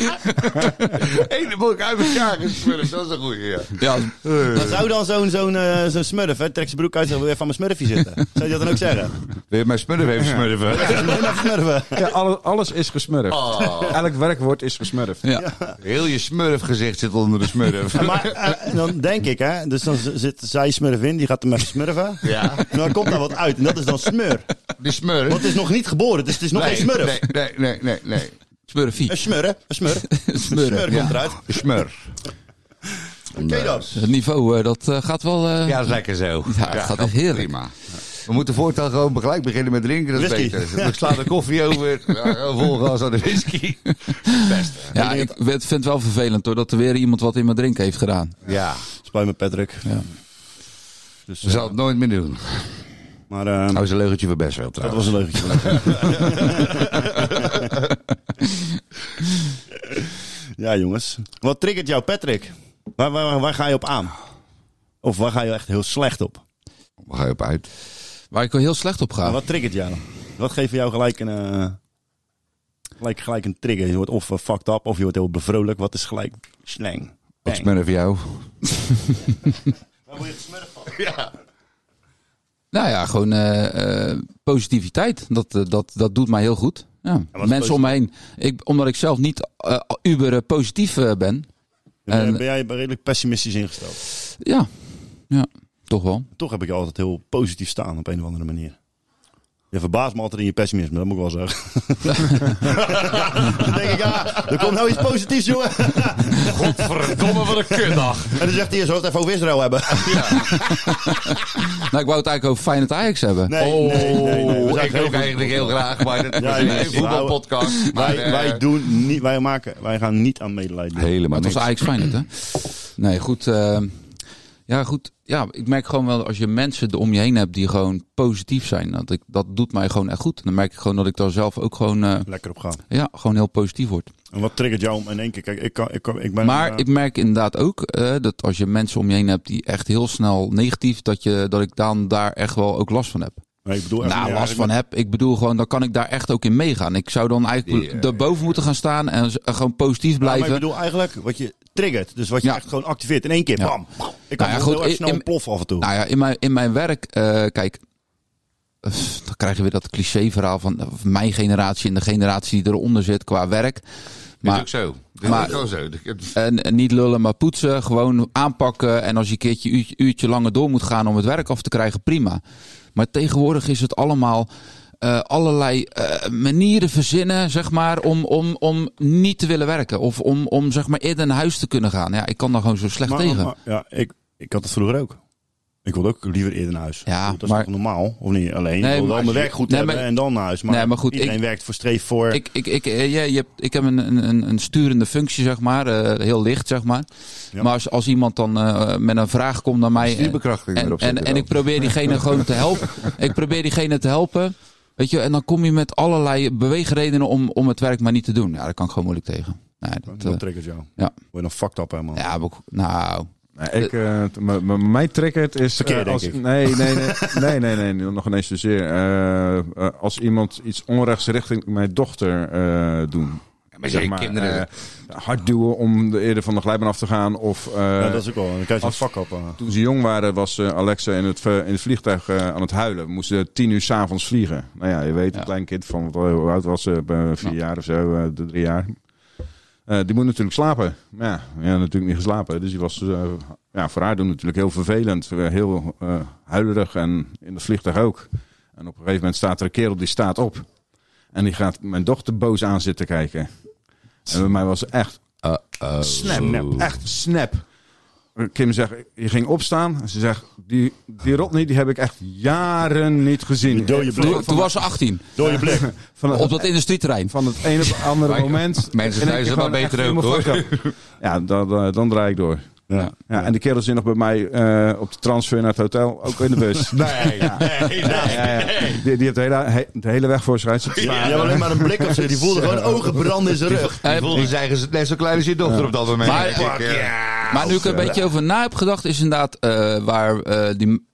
Speaker 1: Helemaal uit elkaar gesmurfd, dat is een goeie, ja.
Speaker 7: Ja,
Speaker 2: Dan zou dan zo'n zo'n eh, zo'n smurf, hè, trek zijn broek uit en wil weer van mijn smurfje zitten. Zou je dat dan ook zeggen?
Speaker 1: Wil je mijn smurf even smurfen?
Speaker 2: Moet je nou even smurfen?
Speaker 8: Ja, alle- alles is gesmurfd.
Speaker 1: Oh.
Speaker 8: Elk werkwoord is gesmurfd.
Speaker 7: ja.
Speaker 1: Heel je smurfgezicht zit onder de smurf.
Speaker 2: Maar eh, dan denk ik, hè, dus dan z- zit zij smurf in, die gaat hem even smurfen.
Speaker 1: Ja,
Speaker 2: En dan komt daar wat uit en dat is dan smur.
Speaker 1: die smurf.
Speaker 2: Want het is nog niet geboren, dus het is nog geen smurf.
Speaker 1: Nee, nee, nee, nee, nee.
Speaker 7: Smurfie.
Speaker 2: Een smur, hè? Een smur. Een smur
Speaker 1: ja.
Speaker 2: komt eruit.
Speaker 1: Smurf.
Speaker 2: Oké dan.
Speaker 7: Het niveau, eh, dat eh, gaat wel... eh,
Speaker 1: Ja, dat is lekker zo.
Speaker 7: Ja, het gaat echt heerlijk.
Speaker 1: Prima. We moeten voortaan gewoon gelijk beginnen met drinken, dat is
Speaker 2: Whisky.
Speaker 1: beter. We slaan de koffie over, ja, vol gas aan de whisky. Beste.
Speaker 7: Ja, ik vind vind het wel vervelend hoor, dat er weer iemand wat in mijn drink heeft gedaan.
Speaker 1: Ja,
Speaker 2: Spijt me, Patrick.
Speaker 1: ze zal het nooit meer doen.
Speaker 2: Maar eh,
Speaker 1: Nou, is een leugentje voor best wel
Speaker 2: dat
Speaker 1: trouwens.
Speaker 2: was een leugentje. ja, jongens. Wat triggert jou, Patrick? Waar, waar, waar ga je op aan? Of waar ga je echt heel slecht op?
Speaker 1: We gaan op uit.
Speaker 7: Waar ik wel heel slecht op ga.
Speaker 2: Maar wat triggert jou? Wat geeft jou gelijk een, eh, gelijk, gelijk een trigger? Je wordt of eh, fucked up of je wordt heel bevrolijk. Wat is gelijk slang?
Speaker 1: Wat smurf jou?
Speaker 7: Nou ja, gewoon eh, eh, positiviteit. Dat, eh, dat, dat doet mij heel goed. Ja. Mensen om me heen. Ik, omdat ik zelf niet eh, uber eh, positief eh, ben.
Speaker 2: Ben,
Speaker 7: En-
Speaker 2: ben jij redelijk pessimistisch ingesteld?
Speaker 7: Ja. ja, toch wel.
Speaker 2: Toch heb ik je altijd heel positief staan op een of andere manier. Je verbaast me altijd in je pessimisme, dat moet ik wel zeggen. dan denk ik, ja, er komt nou iets positiefs, jongen.
Speaker 1: Godverdomme, wat een kutdag.
Speaker 2: En dan zegt hij, je zou het even over Israël hebben.
Speaker 1: Ah.
Speaker 7: Nou, ik wou het eigenlijk over Feyenoord Ajax hebben.
Speaker 2: Nee, nee, nee. nee. We zijn
Speaker 1: ik
Speaker 2: geen
Speaker 1: ook
Speaker 2: goed-
Speaker 1: eigenlijk heel graag, maar dat
Speaker 2: Ja,
Speaker 1: is een
Speaker 2: nee,
Speaker 1: voetbalpodcast. maar,
Speaker 2: Wij,
Speaker 1: eh,
Speaker 2: wij, doen niet, wij, maken, wij gaan niet aan medelijden doen.
Speaker 1: Helemaal
Speaker 7: Het
Speaker 1: niks.
Speaker 7: was Ajax Feyenoord, hè? Nee, goed. eh, Ja, goed. Ja, ik merk gewoon wel als je mensen om je heen hebt die gewoon positief zijn. Dat, ik, dat doet mij gewoon echt goed. En dan merk ik gewoon dat ik daar zelf ook gewoon, eh,
Speaker 2: Lekker op gaan.
Speaker 7: ja, gewoon heel positief word.
Speaker 2: En wat triggert jou om in één keer? Kijk, ik, kan, ik, kan, ik ben...
Speaker 7: maar
Speaker 2: eh,
Speaker 7: ik merk inderdaad ook eh, dat als je mensen om je heen hebt die echt heel snel negatief, dat, je, dat ik dan daar echt wel ook last van heb.
Speaker 2: nee, ik bedoel echt-
Speaker 7: nou,
Speaker 2: ja,
Speaker 7: last
Speaker 2: ik
Speaker 7: van
Speaker 2: ben-
Speaker 7: heb. Ik bedoel gewoon, dan kan ik daar echt ook in meegaan. Ik zou dan eigenlijk daarboven moeten gaan staan en z- gewoon positief
Speaker 2: Ja, maar
Speaker 7: blijven.
Speaker 2: ik bedoel eigenlijk wat je triggert. Dus wat je
Speaker 7: Ja.
Speaker 2: echt gewoon activeert in één keer.
Speaker 7: Ja. Nou
Speaker 2: Bam. Ik kan
Speaker 7: ja,
Speaker 2: heel
Speaker 7: goed,
Speaker 2: erg
Speaker 7: in-
Speaker 2: snel
Speaker 7: in-
Speaker 2: ontploffen af en toe.
Speaker 7: Nou ja, in mijn, in mijn werk, eh, kijk, pff, dan krijg je weer dat cliché-verhaal van eh, mijn generatie en de generatie die eronder zit qua werk.
Speaker 1: Maar,
Speaker 7: Maar,
Speaker 1: ook zo. Dit
Speaker 7: maar-
Speaker 1: is ook wel zo. Ik heb-
Speaker 7: en, en niet lullen, maar poetsen. Gewoon aanpakken. En als je een keertje uurtje, uurtje langer door moet gaan om het werk af te krijgen, prima. Maar tegenwoordig is het allemaal eh, allerlei eh, manieren verzinnen, zeg maar, om, om, om niet te willen werken. Of om, om zeg maar eerder naar huis te kunnen gaan. Ja, ik kan daar gewoon zo slecht
Speaker 2: Maar-
Speaker 7: tegen.
Speaker 2: maar- ja, ik, ik had het vroeger ook. Ik wilde ook liever eerder naar huis.
Speaker 7: Ja,
Speaker 2: Ik bedoel, dat
Speaker 7: maar-
Speaker 2: is toch normaal? Of niet? Alleen,
Speaker 7: Nee,
Speaker 2: ik wil wel
Speaker 7: maar-
Speaker 2: mijn werk goed
Speaker 7: Nee,
Speaker 2: hebben
Speaker 7: maar-
Speaker 2: en dan naar huis. Maar,
Speaker 7: Nee, maar goed,
Speaker 2: iedereen
Speaker 7: ik-
Speaker 2: werkt voor streef voor...
Speaker 7: Ik, ik, ik, eh, ja, je hebt, ik heb een, een- een, een sturende functie, zeg maar. eh, heel licht, zeg maar.
Speaker 2: Ja.
Speaker 7: Maar als, als iemand dan eh, met een vraag komt naar mij... en-
Speaker 1: Bekrachtiging
Speaker 7: en,
Speaker 1: erop
Speaker 7: en,
Speaker 1: zetten
Speaker 7: en
Speaker 1: dan.
Speaker 7: ik probeer diegene gewoon te helpen. Ik probeer diegene te helpen. Weet je, en dan kom je met allerlei beweegredenen om, om het werk maar niet te doen. Ja, daar kan ik gewoon moeilijk tegen. Nee, dat,
Speaker 2: dat
Speaker 7: eh,
Speaker 2: triggert jou.
Speaker 7: ja.
Speaker 2: Word je dan fucked up helemaal.
Speaker 7: ja, maar ik- nou,
Speaker 8: Nee, ik, eh, t- m- m- mij triggert is... eh,
Speaker 2: Verkeer, denk
Speaker 8: als,
Speaker 2: ik.
Speaker 8: Nee, nee, nee, nee, nee, nee, nee, nog ineens zozeer. Eh, eh, als iemand iets onrechts richting mijn dochter eh doen.
Speaker 1: maar zeker kinderen.
Speaker 8: eh, hard duwen om de eerder van de glijbaan af te gaan. Of eh,
Speaker 2: Ja, dat is ook wel. Dan krijg je een fuck up. eh.
Speaker 8: Nou, toen ze jong waren was eh, Alexa in het, v- in het vliegtuig eh, aan het huilen. We moesten tien uur s'avonds vliegen. Nou ja, je weet, een
Speaker 7: Ja.
Speaker 8: klein kind van wat, hoe oud was ze? Eh, Vier
Speaker 7: Ja.
Speaker 8: jaar of zo, eh, drie jaar. Eh, die moet natuurlijk slapen. Maar Ja, ja, natuurlijk niet geslapen. Dus die was eh, ja, voor haar doen natuurlijk heel vervelend. eh, Heel eh, huilerig en in het vliegtuig ook. En op een gegeven moment staat er een kerel die staat op. En die gaat mijn dochter boos aan zitten kijken. En bij mij was echt
Speaker 1: Eh, oh,
Speaker 8: snap. nou, Echt snap. Kim zegt, je ging opstaan. En ze zegt, die, die Rodney die heb ik echt jaren niet gezien.
Speaker 2: Door je blik.
Speaker 7: toen, toen was ze 18.
Speaker 2: Door je blik.
Speaker 8: Van
Speaker 7: Op
Speaker 8: het,
Speaker 7: dat industrieterrein.
Speaker 8: van het ene op het andere
Speaker 1: Maar-
Speaker 8: moment.
Speaker 1: Mensen
Speaker 8: En ik
Speaker 1: thuis zijn wel
Speaker 8: gewoon echt
Speaker 1: beter ook,
Speaker 8: helemaal fucked up. Ja, dan, dan, eh, dan draai ik door.
Speaker 2: Ja.
Speaker 8: Ja, En de kerel zit nog bij mij eh, op de transfer naar het hotel, ook in de bus.
Speaker 1: Nee, nee, nee.
Speaker 8: Ja, ja. Die, die heeft de hele, he- de hele weg voor zich uit. zitten te
Speaker 2: Ja,
Speaker 8: zwaaien.
Speaker 2: je hebt alleen maar een blik op zich. Die voelde gewoon ogen branden in zijn rug.
Speaker 7: Eh,
Speaker 1: Die voelde zijn eigen net zo klein als je dochter op dat moment.
Speaker 7: Maar-
Speaker 1: Ik denk, eh,
Speaker 7: Maar nu ik er een
Speaker 8: Ja.
Speaker 7: beetje over na heb gedacht, is inderdaad eh, waar, eh, die,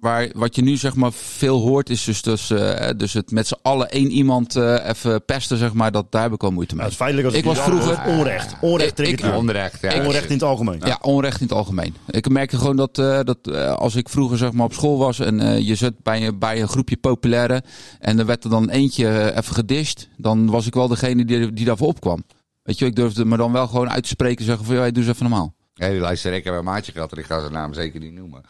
Speaker 7: waar wat je nu zeg maar veel hoort, is dus, dus, eh, dus het met z'n allen één iemand eh, even pesten, zeg maar. Dat, daar heb ik wel moeite mee.
Speaker 2: Nou, het is feitelijk als
Speaker 7: Ik was
Speaker 2: Ja, dat is
Speaker 7: vroeger- Eh,
Speaker 2: Onrecht. Onrecht
Speaker 7: Ik-
Speaker 2: triggert
Speaker 7: ik-
Speaker 2: jou.
Speaker 1: Onrecht. Ja,
Speaker 2: Onrecht in het algemeen.
Speaker 7: Ja, onrecht in het algemeen. Ik merkte gewoon dat, eh, dat eh, als ik vroeger zeg maar, op school was en eh, je zat bij, een- bij een groepje populaire en er werd er dan eentje eh, even gedisht, dan was ik wel degene die, die daarvoor opkwam. Weet je, ik durfde me dan wel gewoon uit te spreken en zeggen van, ja, doe eens even normaal.
Speaker 1: Hey, luister, ik heb een maatje gehad en ik ga zijn naam zeker niet noemen.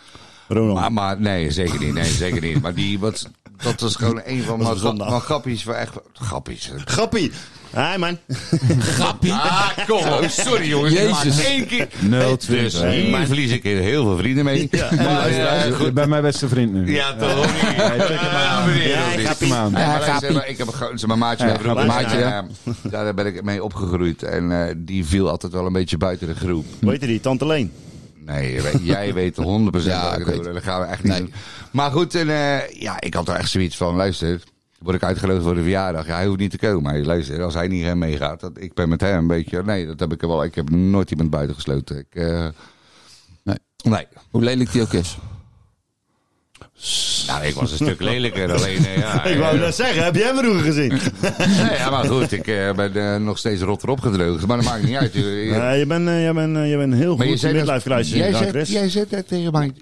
Speaker 2: Ronald.
Speaker 1: Maar, maar nee, zeker niet. Nee, zeker niet. Maar die, wat, dat was gewoon een van
Speaker 2: Dat
Speaker 1: mijn
Speaker 2: was zondag.
Speaker 1: grap- mijn grappies. Waar echt, grappies.
Speaker 2: Grappie. Hi man.
Speaker 7: Grappie.
Speaker 1: Ah, kom. oh, Sorry jongens.
Speaker 7: Jezus.
Speaker 1: Maar één keer.
Speaker 8: 020.
Speaker 1: Dus hier verlies ik heel veel vrienden mee. Ja, maar, eh,
Speaker 8: Je bent mijn beste vriend nu.
Speaker 1: ja toch niet. Ja, meneer,
Speaker 2: Ja,
Speaker 1: toch niet.
Speaker 2: grappies.
Speaker 8: Kom
Speaker 1: Ja,
Speaker 8: aan.
Speaker 1: maar
Speaker 7: Ja,
Speaker 1: luister,
Speaker 7: Gaapie.
Speaker 1: maar ik heb een gro- zeg maar, maatje, mijn broer,
Speaker 2: Gaapie.
Speaker 1: maatje eh, daar ben ik mee opgegroeid. En eh, die viel altijd wel een beetje buiten de groep.
Speaker 2: Weet je die? Tante Leen.
Speaker 1: Nee, je weet- jij weet 100%
Speaker 7: Ja,
Speaker 1: wat ik
Speaker 7: ik
Speaker 1: bedoel.
Speaker 7: weet.
Speaker 1: Dat gaan we echt niet
Speaker 7: Nee.
Speaker 1: doen. Maar goed, en, eh, ja, ik had er echt zoiets van, luister, word ik uitgenodigd voor de verjaardag? Ja, hij hoeft niet te komen. Hij, luister, als hij niet eh, meegaat, dat, ik ben met hem een beetje... Nee, dat heb ik wel. Ik heb nooit iemand buiten gesloten. Ik, eh,
Speaker 7: Nee.
Speaker 1: nee.
Speaker 7: Hoe lelijk die ook is.
Speaker 1: Nou, ik was een stuk lelijker. Alleen, eh, ja,
Speaker 2: Ik wou net zeggen, heb jij hem vroeger gezien?
Speaker 1: Nee, ja, maar goed, ik eh, ben eh, nog steeds rot erop gedroogd. Maar dat maakt niet uit. Je- je-
Speaker 2: Nee, je bent, eh, jij bent, eh, jij bent heel
Speaker 1: maar je
Speaker 2: goed in
Speaker 1: zei dat-
Speaker 2: midlife crisis
Speaker 1: jij,
Speaker 2: ingegaan,
Speaker 1: zegt,
Speaker 2: Chris.
Speaker 1: jij zegt net tegen mij,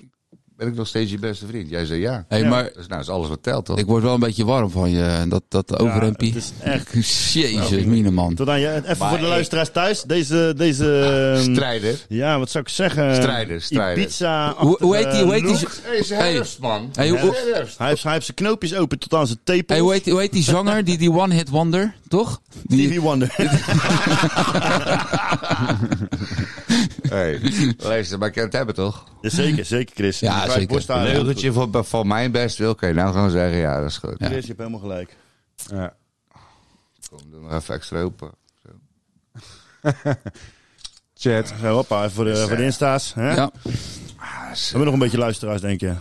Speaker 1: ben ik nog steeds je beste vriend? Jij zei ja.
Speaker 7: Hey, maar
Speaker 1: Dus nou, is alles wat telt, toch?
Speaker 7: ik word wel een beetje warm van je, dat, dat overhempie.
Speaker 2: het is echt-
Speaker 7: Jezus, mine man.
Speaker 2: Tot aan je, even voor de
Speaker 1: ik-
Speaker 2: luisteraars thuis. Deze, deze ehm,
Speaker 1: Strijder.
Speaker 2: ja, wat zou ik zeggen?
Speaker 1: Strijder, strijder.
Speaker 2: Ibiza.
Speaker 7: Hoe, hoe heet die? Hoe
Speaker 2: eh,
Speaker 7: heet die?
Speaker 1: Hey, is
Speaker 7: Hey.
Speaker 1: herfst, man.
Speaker 7: Hey, hoe-
Speaker 1: Het is herfst.
Speaker 2: Hij heeft, hij heeft zijn knoopjes open tot aan zijn
Speaker 7: Hey,
Speaker 2: tepels.
Speaker 7: hoe, heet, hoe heet die zanger? Die, die One Hit Wonder, toch? Die,
Speaker 2: TV Wonder.
Speaker 1: Hey. Luister, maar ik kan het hebben, toch?
Speaker 2: Ja, zeker, zeker Chris.
Speaker 7: Ja,
Speaker 2: Vijf
Speaker 7: zeker.
Speaker 2: borsthaar.
Speaker 1: Leugentje van, van mijn best wil. Oké, nou gewoon zeggen, ja, dat is goed.
Speaker 7: Ja.
Speaker 2: Chris, je hebt helemaal gelijk.
Speaker 8: Ja.
Speaker 1: Kom, doe nog even extra open.
Speaker 8: Chat.
Speaker 2: Zo, hoppa, even voor de, voor de insta's. Hè?
Speaker 7: ja.
Speaker 1: Ah,
Speaker 2: Hebben we nog een beetje luisteraars, denk je?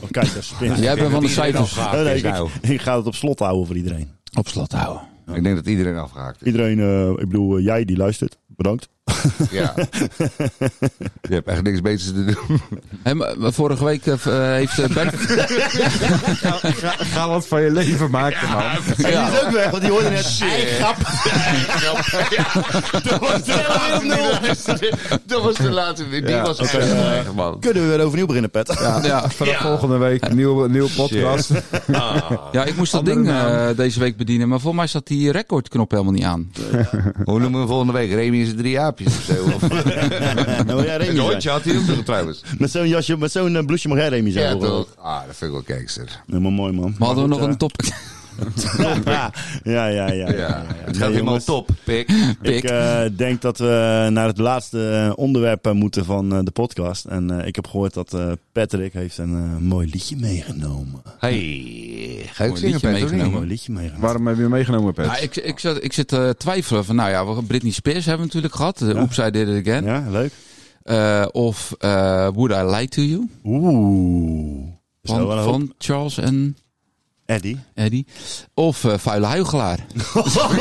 Speaker 2: Of kijkers?
Speaker 7: Jij bent van de cijfers.
Speaker 2: Nee, nee,
Speaker 9: nou.
Speaker 2: ik, ik ga het op slot houden voor iedereen.
Speaker 7: Op slot houden.
Speaker 9: Ik denk dat iedereen afgehaakt is.
Speaker 2: Iedereen, eh, ik bedoel, eh, jij die luistert, bedankt.
Speaker 9: Ja. Je hebt echt niks beters te doen.
Speaker 7: Hé, maar vorige week eh, heeft eh, Bert...
Speaker 3: Ga wat van je leven maken, man.
Speaker 7: Ja.
Speaker 2: ook weg, want die hoorde net...
Speaker 9: Dat was de laatste. Die was
Speaker 2: oké.
Speaker 9: echt erg, man.
Speaker 2: Kunnen we weer overnieuw beginnen, Pet?
Speaker 7: Ja.
Speaker 3: Vanaf volgende week, nieuwe, nieuwe podcast.
Speaker 7: ja, ik moest dat
Speaker 3: Andere
Speaker 7: ding
Speaker 3: naam.
Speaker 7: eh, deze week bedienen. Maar volgens mij staat die recordknop helemaal niet aan.
Speaker 9: Hoe noemen we volgende week? Remy is drie aapjes of zo. Of-
Speaker 2: Nou, ja, Remy
Speaker 9: Een
Speaker 2: zijn.
Speaker 9: hondje had hij ook nog trouwens.
Speaker 2: Met zo'n jasje, met zo'n eh, blouseje mag jij Remy zijn.
Speaker 9: Ja,
Speaker 2: hoor.
Speaker 9: toch? Ah, dat vind ik wel gangster.
Speaker 2: Helemaal mooi, man.
Speaker 7: Maar hadden we nog
Speaker 2: goed,
Speaker 7: een top
Speaker 2: eh, ja, ja, ja, ja, ja.
Speaker 9: Ja, het gaat
Speaker 2: Nee,
Speaker 9: helemaal
Speaker 2: jongens.
Speaker 9: top, pik.
Speaker 7: pick?
Speaker 2: Ik eh, denk dat we naar het laatste eh, onderwerp eh, moeten van eh, de podcast. En eh, ik heb gehoord dat eh, Patrick heeft een eh, mooi liedje meegenomen.
Speaker 9: Hey, ga je ook
Speaker 7: Mooi
Speaker 9: zingen,
Speaker 7: liedje
Speaker 9: Pet, of niet?
Speaker 2: Een
Speaker 7: meegenomen.
Speaker 2: mooi liedje meegenomen.
Speaker 8: Waarom heb je hem meegenomen, Pet?
Speaker 7: Ja, ik, ik, zat, ik zit te twijfelen van, nou ja, we- Britney Spears hebben we natuurlijk gehad. De Oops, I Did It Again.
Speaker 2: Ja, leuk.
Speaker 7: Eh, of eh, Would I Lie To You?
Speaker 2: Oeh. Is dat
Speaker 7: Van,
Speaker 2: wel een hoop?
Speaker 7: van Charles en
Speaker 2: Eddie.
Speaker 7: Eddie. Of eh, Vuile Huigelaar.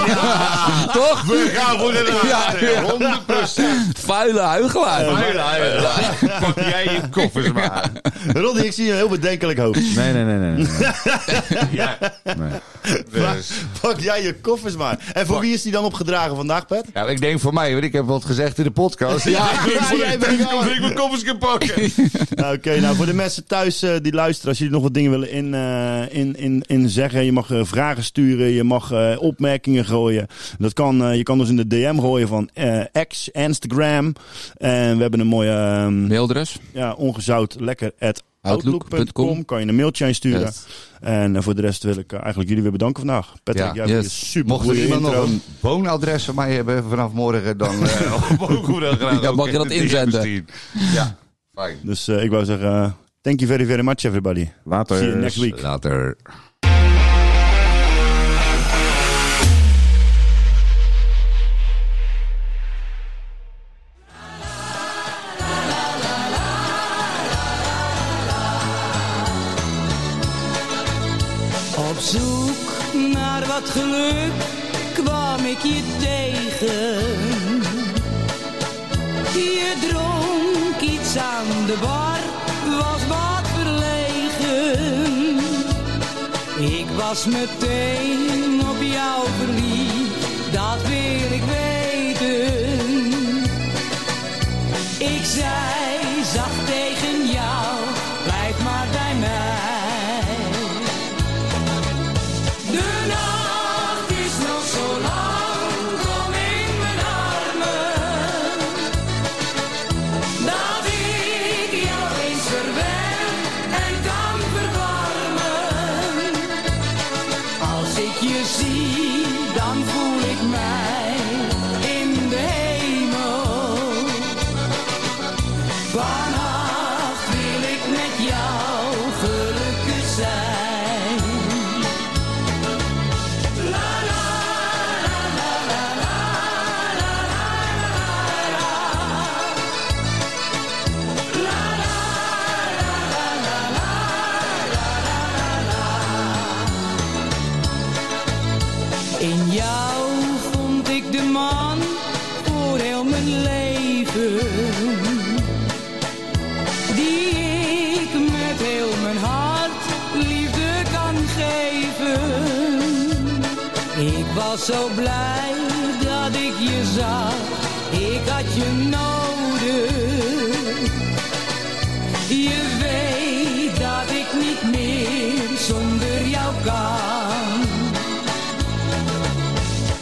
Speaker 7: ja, toch? We gaan voor de ja, 100%. Vuile Huigelaar.
Speaker 9: Pak jij je koffers maar.
Speaker 2: Roddy, ik zie een heel bedenkelijk hoofd.
Speaker 8: Nee, nee, nee, nee. nee, nee.
Speaker 9: Dus.
Speaker 2: Pak jij je koffers maar. En voor wie is die dan opgedragen vandaag, Pet?
Speaker 9: Nou, ik denk voor mij, want ik heb wat gezegd in de podcast. Ja, ik denk voor
Speaker 2: jij bent wel-
Speaker 9: dat ik mijn koffers kan pakken.
Speaker 2: Nou, Oké, nou voor de mensen thuis eh, die luisteren, als jullie nog wat dingen willen in, eh, in, in, in zeggen, je mag eh, vragen sturen, je mag eh, opmerkingen gooien. Dat kan, eh, je kan dus in de DM gooien van eh, X, Instagram. En we hebben een mooie ehm,
Speaker 7: Mailadres.
Speaker 2: ja, ongezout lekker at
Speaker 7: Outlook.com.
Speaker 2: outlook.com. Kan je een mailtje insturen.
Speaker 7: Yes.
Speaker 2: En eh, voor de rest wil ik eh, eigenlijk jullie weer bedanken vandaag. Patrick,
Speaker 9: Ja,
Speaker 2: jij hebt
Speaker 7: yes.
Speaker 2: een super
Speaker 9: Mocht er
Speaker 2: goede
Speaker 9: iemand
Speaker 2: intro.
Speaker 9: nog een woonadres van mij hebben vanaf morgen, dan eh, ook hoe dan graag.
Speaker 7: Ja,
Speaker 9: ook
Speaker 7: mag je
Speaker 9: in
Speaker 7: dat
Speaker 9: de DM's
Speaker 7: inzenden?
Speaker 9: zien. Ja, fijn.
Speaker 2: Dus eh, ik wou zeggen, eh, thank you very very much everybody.
Speaker 8: Later.
Speaker 2: See you next week.
Speaker 9: Later.
Speaker 10: Op zoek naar wat geluk kwam ik je tegen. Je dronk iets aan de bar, was wat verlegen. Ik was meteen op jou verliefd, dat wil ik weten. Ik zei zacht tegen jou, blijf maar bij mij. De nacht is nog zo lang, kom in mijn armen. Dat ik jou eens verwen en kan verwarmen. Als ik je zie, dan voel ik mij in de hemel. Vannacht wil ik met jou gelukkig zijn. In jou vond ik de man voor heel mijn leven. Die ik met heel mijn hart liefde kan geven. Ik was zo blij dat ik je zag, ik had je nodig. Je weet dat ik niet meer zonder jou kan.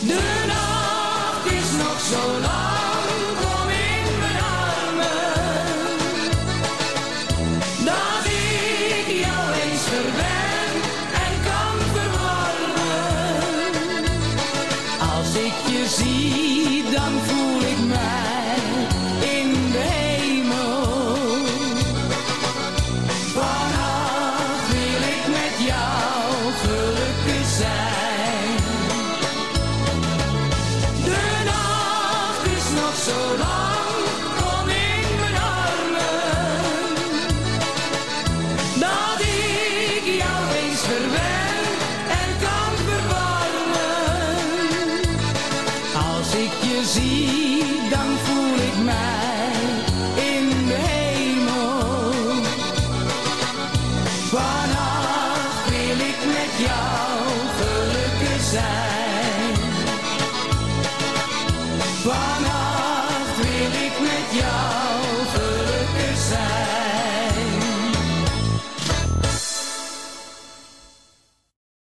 Speaker 10: De nacht is nog zo lang, kom in mijn armen. Dat ik jou eens verwen en kan verwarmen. Als ik je zie, dan voel ik mij in de hemel. Vanaf wil ik met jou gelukkig zijn. De nacht is nog zo lang, kom in mijn armen. zie, dan voel ik mij in de hemel. Vannacht wil ik met jou gelukkig zijn. Vannacht